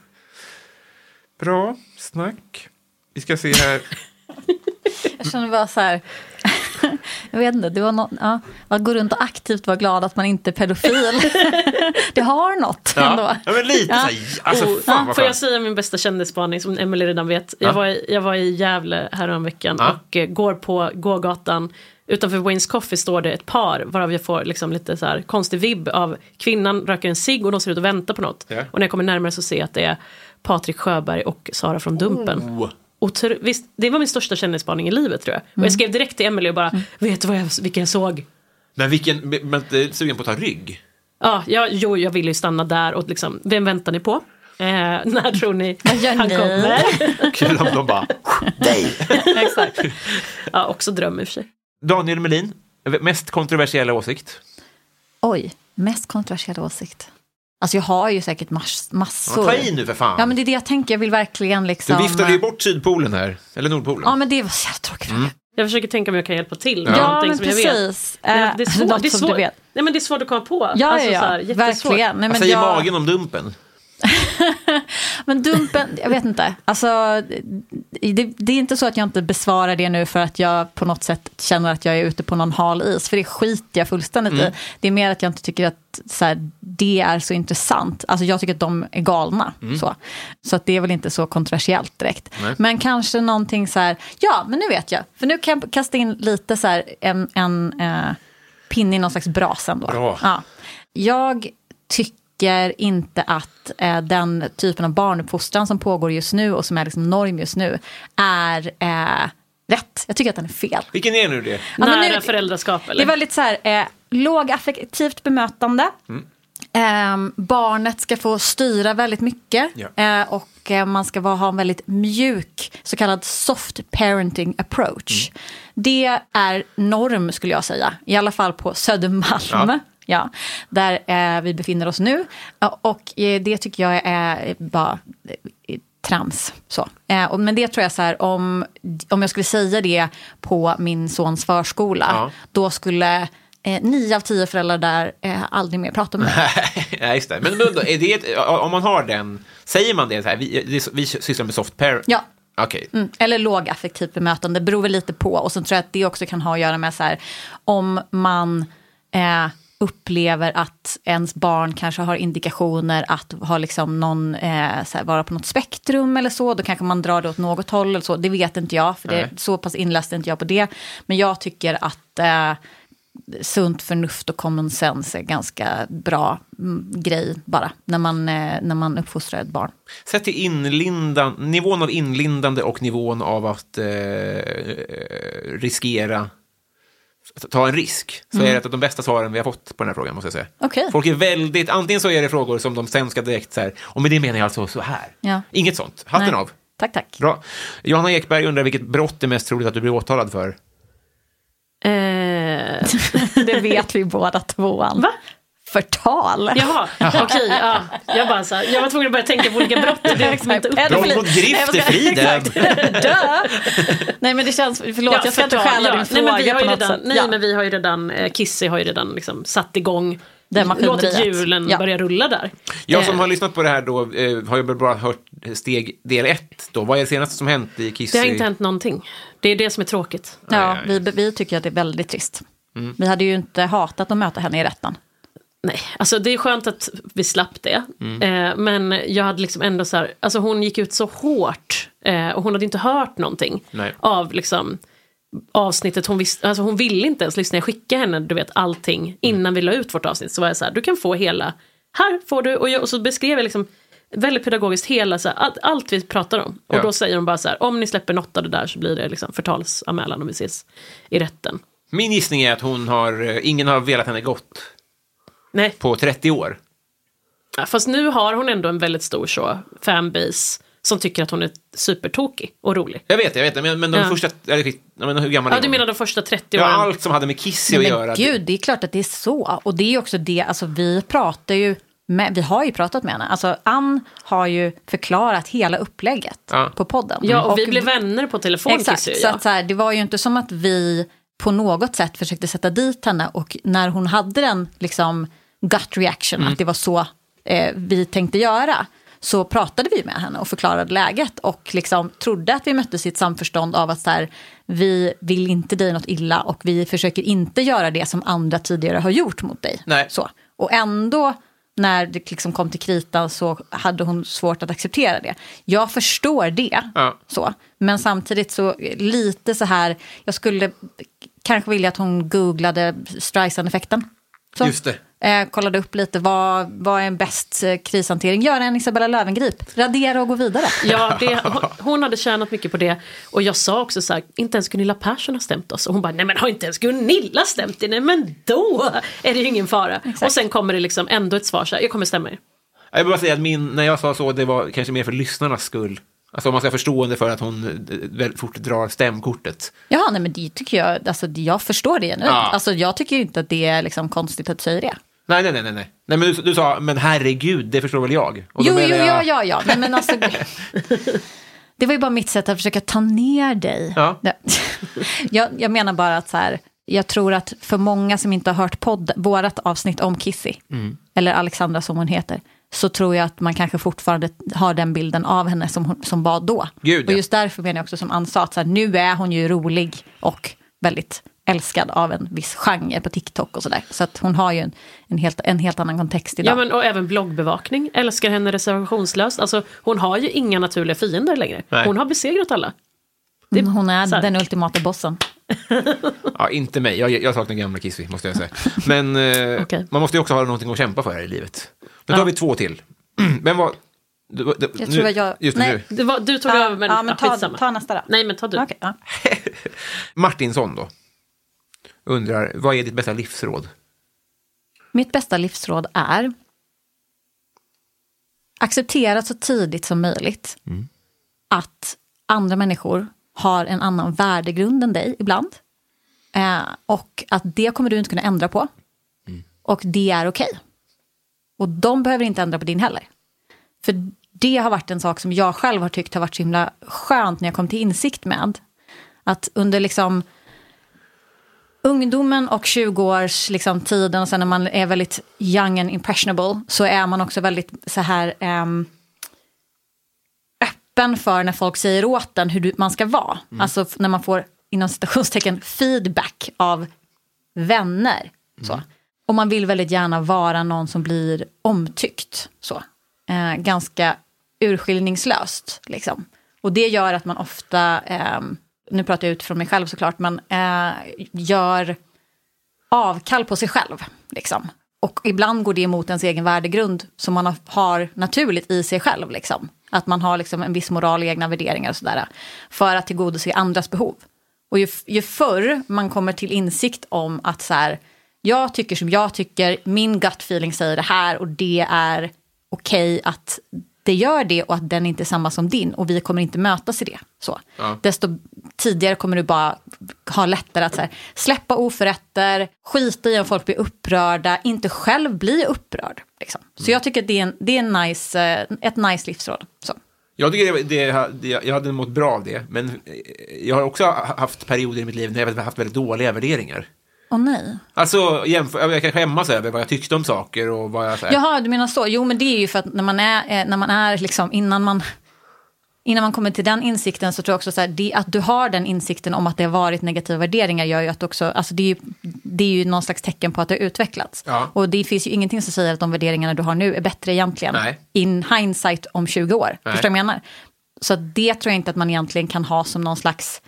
Bra snack. Vi ska se här.
Jag känner bara så här... Jag vet inte, det var någon, ja, man går runt och aktivt var glad att man inte är pedofil. det har något
Ja,
ändå.
ja men lite så
Ja.
här. Alltså,
Oh,
fan vad
får jag
skönt.
säga min bästa kändisspaning som Emelie redan vet? Jag, var, i- jag var i Gävle häromveckan
Ja.
och eh, går på gågatan. Utanför Wayne's Coffee står det ett par varav jag får liksom lite så här konstig vibb av kvinnan röker en cigg och de ser ut att vänta på något.
Ja.
Och när jag kommer närmare så ser jag att det är Patrik Sjöberg och Sara från Dumpen.
Oh.
Otro, visst, det var min största kändisspaning i livet tror jag.
Mm.
Och jag skrev direkt till Emelie och bara, vet du vad jag, vilka jag såg?
Men vilken, men inte sugen på att ta rygg?
Ja, jag, jo, jag ville ju stanna där och liksom, vem väntar ni på? Eh, när tror ni
gör
han
ni?
kommer?
Kul om de bara...
Exakt.
Ja, också dröm i och för sig.
Daniel Melin, mest kontroversiella åsikt?
Oj, mest kontroversiella åsikt. Alltså jag har ju säkert mas-
Ja,
massor.
ta i nu för fan.
Ja, men det är det jag tänker. Jag vill verkligen liksom...
du viftade ju bort Mm. Sydpolen här, eller Nordpolen.
Ja, men det var så jävla tråkigt.
Jag försöker tänka om jag kan hjälpa till med
Ja,
någonting
men
som jag vet.
precis.
Nej,
Eh,
Det är svårt,
något
det är
som
svårt.
du vet.
Nej, men det är svårt att komma på.
Ja,
Alltså,
ja,
så
ja.
här, jättesvårt.
verkligen.
Vad
Nej, men,
säger
jag,
Alltså, magen om Dumpen?
men dumpen, jag vet inte. Alltså, det, det är inte så att jag inte besvarar det nu för att jag på något sätt känner att jag är ute på någon hal is, för det skiter jag fullständigt i. Det är mer att jag inte tycker att så här, det är så intressant. Alltså jag tycker att de är galna. Så, så att det är väl inte så kontroversiellt direkt. Men kanske någonting så här, ja men nu vet jag. För nu kan jag kasta in lite så här en, en eh, pinne i någon slags bras ändå.
Bra.
Ja. Jag tycker tycker inte att eh, den typen av barnuppfostran som pågår just nu och som är liksom norm just nu är eh, rätt. Jag tycker att den är fel.
Vilken är nu det?
Ja, men
Nära
nu-
föräldraskap
Det
eller?
är väldigt så här, eh, lågaffektivt bemötande.
Mm.
Eh, barnet ska få styra väldigt mycket.
Ja.
Eh, och eh, man ska vara, ha en väldigt mjuk, så kallad soft parenting approach.
Mm.
Det är norm skulle jag säga, i alla fall på Södermalm.
Ja.
Ja. där eh, vi befinner oss nu. Ja, Och eh, det tycker jag är eh, bara eh, trams. Så. Eh, och, men det tror jag så här, om, om jag skulle säga det på min sons förskola,
Ja.
då skulle eh, nio av tio föräldrar där eh, aldrig mer prata med mig.
Nej, just det. Men, men då, är det ett, om man har den, säger man det så här, vi, det- vi sysslar med soft pair?
Ja.
Okej.
Mm. Eller lågaffektivt bemötande, beror väl lite på. Och sen tror jag att det också kan ha att göra med så här, om man eh, upplever att ens barn kanske har indikationer att ha liksom någon, eh, så här, vara på något spektrum eller så, då kanske man drar det åt något håll eller så. Det vet inte jag, för
Nej.
det, så pass inläst är inte jag på det. Men jag tycker att eh, sunt förnuft och common sense är ganska bra mm, grej bara, när man, eh, när man uppfostrar ett barn.
Sett till inlindan, nivån av inlindande och nivån av att eh, eh, riskera, ta en risk, så är det ett av de bästa svaren vi har fått på den här frågan, måste jag säga.
Mm. Okej.
Folk är väldigt, antingen så är det frågor som de sen ska direkt så här, och med det menar jag alltså så här.
Ja.
Inget sånt, hatten
Nej.
av.
Tack, tack.
Bra. Johanna Ekberg undrar vilket brott det är mest troligt att du blir åtalad för?
Eh,
Det vet vi båda tvåan.
Va?
Förtal.
jaha, okej. ja. Jag, bara så här, jag var tvungen att börja tänka på olika brott. Det är liksom inte upp.
Pedofili.
Brott mot grift
Nej,
är friden.
exakt. Dö! Nej men det känns, förlåt jag ska inte
förtal,
stjäla din
nej,
fråga
men vi har
på
ju
något
redan,
sätt.
Nej
Ja.
men vi har ju redan, eh, Kissy har ju redan liksom satt igång,
Det maskineriet.
låtit hjulen
Ja.
börja rulla där.
Jag som har lyssnat på det här då eh, har ju bara hört steg del ett då. Vad är det senaste som hänt i Kissy?
Det har inte hänt någonting. Det är det som är tråkigt.
ja, Mm. vi, vi tycker att det är väldigt trist. Vi hade ju inte hatat att möta henne i rätten.
Nej, alltså det är skönt att vi slapp det.
Mm.
Eh, men jag hade liksom ändå så här, alltså hon gick ut så hårt eh, och hon hade inte hört någonting
Nej.
av liksom avsnittet. Hon, visste, alltså hon ville inte ens lyssna. Jag skickade henne du vet,
Mm.
allting innan vi la ut vårt avsnitt. Så var jag så här, du kan få hela, här får du. Och, jag, och så beskrev jag liksom väldigt pedagogiskt hela, så här, allt, allt vi pratar om. Och
Ja.
då säger hon bara så här, om ni släpper något av det där så blir det liksom förtalsanmälan om vi ses i rätten.
Min gissning är att hon har, eh, ingen har velat henne gott
Nej,
på 30 år.
Ja, Fast nu har hon ändå en väldigt stor så, fanbase som tycker att hon är supertokig och rolig.
Jag vet, jag vet, men, men de
Ja.
första, eller, jag menar, hur gammal
Ja,
är
du
hon?
menar de första 30
ja,
åren?
allt som hade med Kissy att göra.
Men gud, det är klart att det är så. Och det är ju också det, alltså vi pratar ju, med, vi har ju pratat med henne. Alltså Ann har ju förklarat hela upplägget
Ja.
på podden.
Ja, och, vi blev vänner på telefon,
Exakt,
Kissy och
så,
jag.
att, så här, det var ju inte som att vi på något sätt försökte sätta dit henne och när hon hade den liksom gut reaction, att det var så eh, vi tänkte göra, så pratade vi med henne och förklarade läget och liksom trodde att vi mötte sitt samförstånd av att så här, vi vill inte dig något illa och vi försöker inte göra det som andra tidigare har gjort mot dig.
Nej.
Så. Och ändå, när det liksom kom till kritan så hade hon svårt att acceptera det. Jag förstår det,
Ja.
så. Men samtidigt så eh, lite så här, jag skulle kanske vilja att hon googlade Streisand-effekten. Så.
Just det.
Eh, kollade upp lite, vad, vad är en bäst eh, krishantering? Gör en Isabella Löwengrip, radera och gå vidare.
Ja, det, hon- hon hade tjänat mycket på det. Och jag sa också så här, inte ens Gunilla Persson har stämt oss. Och hon bara, nej men har inte ens Gunilla stämt er? Nej men då är det ju ingen fara. Och sen kommer det liksom ändå ett svar så här, jag kommer stämma er.
Jag vill bara säga att min, när jag sa så, det var kanske mer för lyssnarnas skull. Alltså om man ska ha förstående för att hon eh, väldigt fort drar stämkortet.
Ja, nej men det tycker jag, alltså jag förstår det nu.
Ja.
Alltså jag tycker ju inte att det är liksom konstigt att du säger det.
Nej, nej, nej, nej, nej. nej men du, du sa, men herregud, det förstår väl jag? Och då
Jo,
menar
jo,
jag-
ja, ja, ja. Nej, men alltså, det var ju bara mitt sätt att försöka ta ner dig.
Ja.
Det- Jag, jag menar bara att så här, jag tror att för många som inte har hört podd, vårat avsnitt om Kissy,
Mm.
eller Alexandra som hon heter, så tror jag att man kanske fortfarande har den bilden av henne som, hon, som var då.
Gud, ja.
Och just därför menar jag också som Ann sa, att så här, nu är hon ju rolig och väldigt älskad av en viss genre på TikTok och sådär. Så att hon har ju en, en, helt, en helt annan kontext idag.
Ja, men, och även bloggbevakning, älskar henne reservationslöst. Alltså, hon har ju inga naturliga fiender längre.
Nej.
Hon har besegrat alla.
Mm, hon är
så här-
den ultimata bossen.
Ja, inte mig. Jag, jag saknar gamla Kissy, måste jag säga. Men eh,
Okej.
man måste ju också ha någonting att kämpa för här i livet. Nu tar
Ja.
vi två till. Vem var... Du, du,
Jag
nu,
tror att jag...
Just nu.
nej,
Det var, du tog
ta,
över, men,
ja, men ta,
skitsamma.
ta nästa då.
Nej, men ta du.
Okej, ja.
Martinsson då. Undrar, vad är ditt bästa livsråd?
Mitt bästa livsråd är acceptera så tidigt som möjligt att andra människor har en annan värdegrund än dig ibland. Eh, och att det kommer du inte kunna ändra på. Och det är okej. Och de behöver inte ändra på din heller. För det har varit en sak som jag själv har tyckt har varit så himla skönt när jag kom till insikt med. Att under liksom ungdomen och 20-årstiden liksom, tiden och sen när man är väldigt young and impressionable så är man också väldigt så här ehm, öppen för när folk säger åt en hur du, man ska vara. Alltså f- när man får inom citationstecken feedback av vänner. Så. Och man vill väldigt gärna vara någon som blir omtyckt. Så. Eh, ganska urskiljningslöst. Liksom. Och det gör att man ofta, ehm, nu pratar jag utifrån mig själv såklart, men eh, gör avkall på sig själv. Liksom. Och ibland går det emot ens egen värdegrund som man har- har naturligt i sig själv. Liksom. Att man har liksom en viss moral och egna värderingar och sådär. För att tillgodose andras behov. Och ju, f- ju förr man kommer till insikt om att så här, jag tycker som jag tycker, min gut feeling säger det här och det är okej att det gör det och att den inte är samma som din och vi kommer inte mötas i det. Så. Desto tidigare kommer du bara ha lättare att så här, släppa oförrätter, skita i om folk blir upprörda, inte själv bli upprörd. Liksom. Så jag tycker att det är, en, det är en nice, eh, ett nice livsråd. Så.
Jag tycker det, det, det, jag hade mått bra av det, men eh, jag har också ha- haft perioder i mitt liv när jag har haft väldigt dåliga värderingar.
Åh nej.
Alltså, jämför, jag kan skämmas över vad jag tyckte om saker och vad jag... Så här,
Jaha, du menar så. Jo, men det är ju för att när man är, eh, när man är liksom, innan man, innan man kommer till den insikten så tror jag också så här, det, att du har den insikten om att det har varit negativa värderingar gör ju att också, alltså det är ju, det är ju någon slags tecken på att det har utvecklats.
Ja.
Och det finns ju ingenting som säger att de värderingarna du har nu är bättre egentligen.
Nej.
In hindsight om 20 år,
Nej.
förstår du vad jag menar? Så att det tror jag inte att man egentligen kan ha som någon slags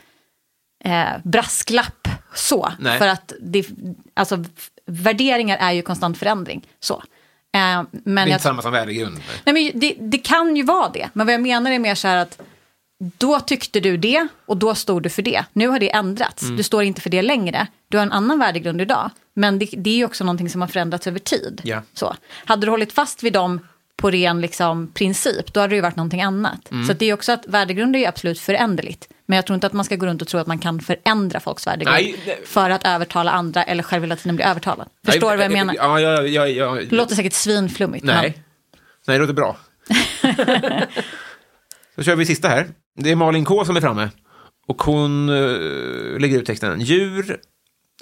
eh, brasklapp så.
Nej.
För att det, alltså, f- värderingar är ju konstant förändring. Så. Eh,
det är
men
inte
jag,
samma som värdegrund.
nej, men det, det kan ju vara det, men vad jag menar är mer så här att då tyckte du det och då stod du för det. Nu har det ändrats,
Mm.
du står inte för det längre. Du har en annan värdegrund idag, men det, det är ju också någonting som har förändrats över tid.
Ja.
Så. Hade du hållit fast vid dem på ren liksom, princip, då hade det ju varit någonting annat.
Mm.
Så att det är också att värdegrund är ju absolut föränderligt. Men jag tror inte att man ska gå runt och tro att man kan förändra folks värdegrund
Nej, det-
för att övertala andra eller själv hela tiden bli övertalad. Förstår du vad jag menar?
Ja, ja, ja, ja,
Det
ja.
låter säkert svinflummigt. men-
Nej. Nej, det låter bra. Då kör vi sista här. Det är Malin K som är framme. Och hon eh, lägger ut texten. Djur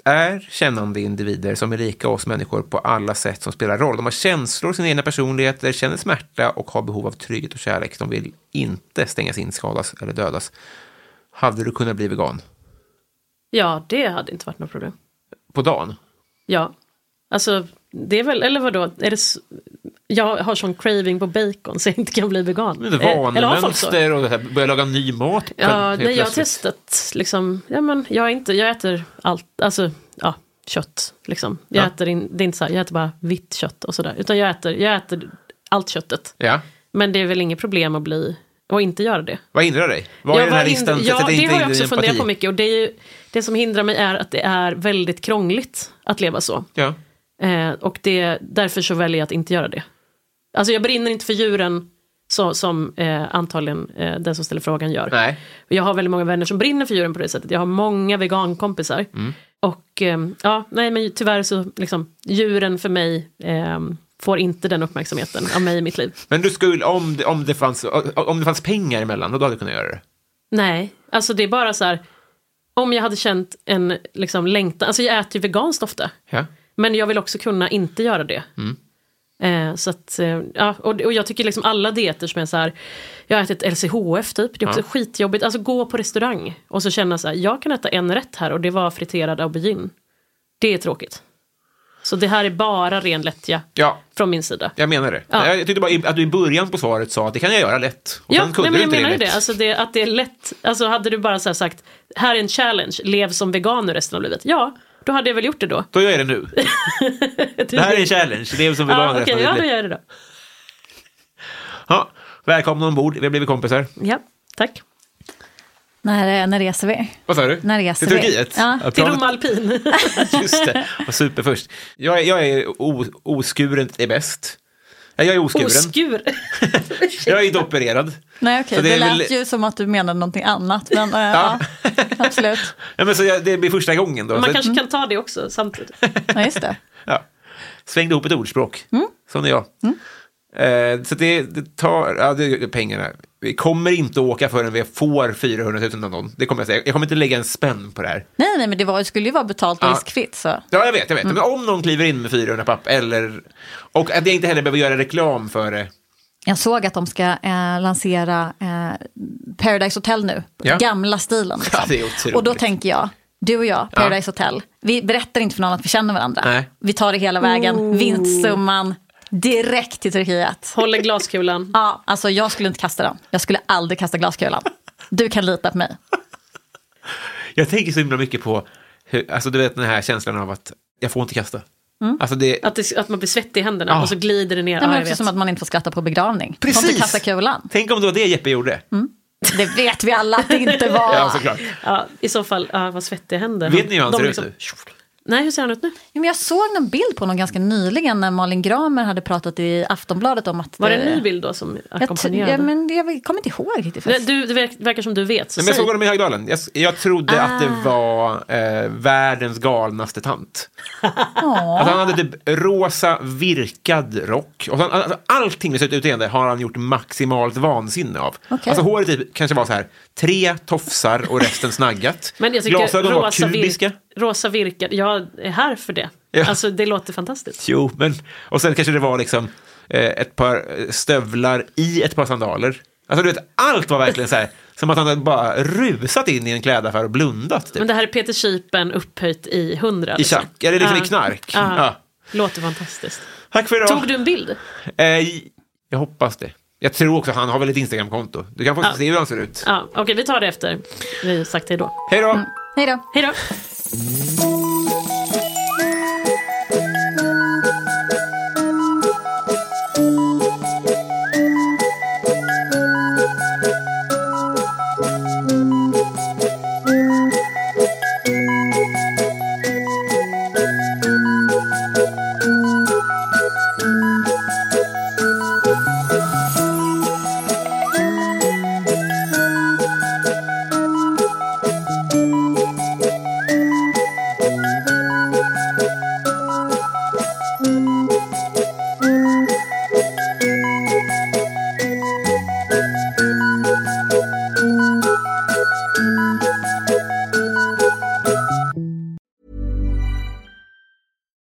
är kännande individer som är lika oss människor på alla sätt som spelar roll. De har känslor, sina egna personligheter, känner smärta och har behov av trygghet och kärlek. De vill inte stängas in, skadas eller dödas. Hade du kunnat bli vegan?
Ja, det hade inte varit något problem.
På dagen?
Ja. Alltså, det är väl, eller vadå, är det, s- jag har sån craving på bacon så jag inte kan bli vegan.
Men det
Eh, eller har folk så?
Vanemönster och det här, börja laga ny mat.
Ja,
helt
nej, jag har
plötsligt.
testat liksom, ja men jag är inte, jag äter allt, alltså ja, kött liksom. Jag
Ja.
äter in, det är inte så här, jag äter bara vitt kött och sådär, utan jag äter, jag äter allt köttet.
Ja.
Men det är väl inget problem att bli, och inte göra det.
Vad hindrar dig? Vad är den här
var in-
listan?
Ja,
Sätter
det
inte
har
in
jag
i
också
din
funderat
parti.
på mycket. Och det, är ju, det som hindrar mig är att det är väldigt krångligt att leva så.
Ja.
Eh, och det, därför så väljer jag att inte göra det. Alltså jag brinner inte för djuren så, som eh, antagligen eh, den som ställer frågan gör.
Nej.
Jag har väldigt många vänner som brinner för djuren på det sättet. Jag har många vegankompisar.
Mm.
Och ehm, ja, nej men tyvärr så liksom, djuren för mig ehm, får inte den uppmärksamheten av mig i mitt liv.
Men du skulle, om det, om, det fanns, om det fanns pengar emellan, då hade du kunnat göra det.
Nej, alltså det är bara så här, om jag hade känt en liksom, längtan, alltså jag äter ju veganskt ofta,
Ja.
men jag vill också kunna inte göra det. Eh, så att, eh, ja, och, och jag tycker liksom alla dieter som är så här, jag har ätit LCHF typ, det är också
Ja.
skitjobbigt, alltså gå på restaurang och så känna så här, jag kan äta en rätt här och det var friterad aubergine. Det är tråkigt. Så det här är bara ren lättja
Ja,
från min sida.
jag menar det.
Ja.
Jag tyckte bara i- att du i början på svaret sa att det kan jag göra lätt. Och sen kunde
nej, men
du
jag
inte
menar ju
det
det.
lätt.
Alltså det. Att det är lätt. Alltså hade du bara så här sagt, här är en challenge, lev som vegan nu resten av livet. Ja, då hade jag väl gjort det då.
Då gör jag det nu. Det här är en challenge. Det är som vi
Ja,
ah,
okej,
okay,
ja, då
ja,
gör jag det då.
ja, Välkomna ombord, vi har blivit kompisar.
Ja, tack.
När, eh, när reser vi?
Vad sa du?
När reser
Till
vi?
Turkiet?
Ja.
Till
planet-
Rom Alpin.
Just det, var super först. Jag är, jag är o, oskuren är bäst. Nej, Jag är oskuren.
Oskur.
jag är inte opererad.
Nej okej,
Så det
det,
är väl-
lät ju som att du menade någonting annat. Men, eh,
Ja.
ja. absolut.
Ja, men så jag, det blir första gången då.
Man
Så,
kanske kan ta det också samtidigt.
Ja, just det.
ja. Svängde ihop ett ordspråk.
Mm.
Som det är jag. Eh, så det, det tar ja, det, pengarna. Vi kommer inte åka förrän vi får 400 000 av någon. Det kommer jag säga. Jag kommer inte lägga en spänn på det här.
Nej, nej, men det var, skulle ju vara betalt och
Ja.
riskfritt. Så.
Ja, jag vet, jag vet.
Mm.
Men om någon kliver in med 400 papp eller... Och att jag inte heller behöver göra reklam för det.
Jag såg att de ska eh, lansera eh, Paradise Hotel nu,
Ja.
gamla stilen. liksom.
Ja, det är otroligt.
och då tänker jag, du och jag, Paradise Hotel, vi berättar inte för någon att vi känner varandra.
Nej. Oh.
Vi tar det hela vägen, vinstsumman, direkt till Turkiet.
Håller glaskulan.
Ja, alltså jag skulle inte kasta den. Jag skulle aldrig kasta glaskulan. Du kan lita på mig.
Jag tänker så himla mycket på, hur, alltså du vet den här känslan av att jag får inte kasta. Alltså det,
Mm. Att, det, att man blir svettig i händerna
Ja.
och så glider det ner.
Det
Ja,
är
jag
också
vet.
som att man inte får skratta på begravning. Man får
Precis.
inte kasta kulan.
tänk om det var det Jeppe gjorde.
Mm.
Det vet vi alla att det inte var.
Ja, såklart.
ja, I så fall, ja, vad svettiga händer.
Vet ni hur han
De
ser
liksom-
ut nu?
Nej, hur ser han ut nu?
Ja, men jag såg en bild på honom ganska nyligen när Malin Gramer hade pratat i Aftonbladet om att...
Var det en ny bild då som
Eh, Jag, t-
ackompanjerade?
ja, men jag kommer inte ihåg riktigt.
Nej,
faktiskt.
du, det verk- verkar som du vet. Så
Nej, men jag
säg.
såg honom i Högdalen. Jag, jag trodde att
Ah.
det var eh, världens galnaste tant.
Ja.
Alltså, han hade typ rosa virkad rock. Och han, alltså, allting med sitt utseende har han gjort maximalt vansinne av.
Okej.
Alltså håret typ, kanske var så här, tre tofsar och resten snaggat.
Men jag tycker
Glasögonen var
rosa,
kubiska.
virk, rosa virkar, jag är här för det.
Ja.
Alltså det låter fantastiskt.
Jo, men... Och sen kanske det var liksom eh, ett par eh, stövlar i ett par sandaler. Alltså du vet, allt var verkligen så här, som att han hade bara rusat in i en klädaffär och blundat. Typ.
Men det här är Peter Kipen upphöjt i 100.
I tjack, eller liksom
Ja.
i knark.
Ja.
Ja.
Låter fantastiskt.
Tack för idag.
Tog du en bild?
Eh, jag hoppas det. Jag tror också han har väl ett Instagramkonto. Du kan få se hur han ser ut.
Ja, Mm. Okej, vi tar det efter vi har sagt hej då.
Hej då!
Hej då.
Hej då!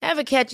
Ever catch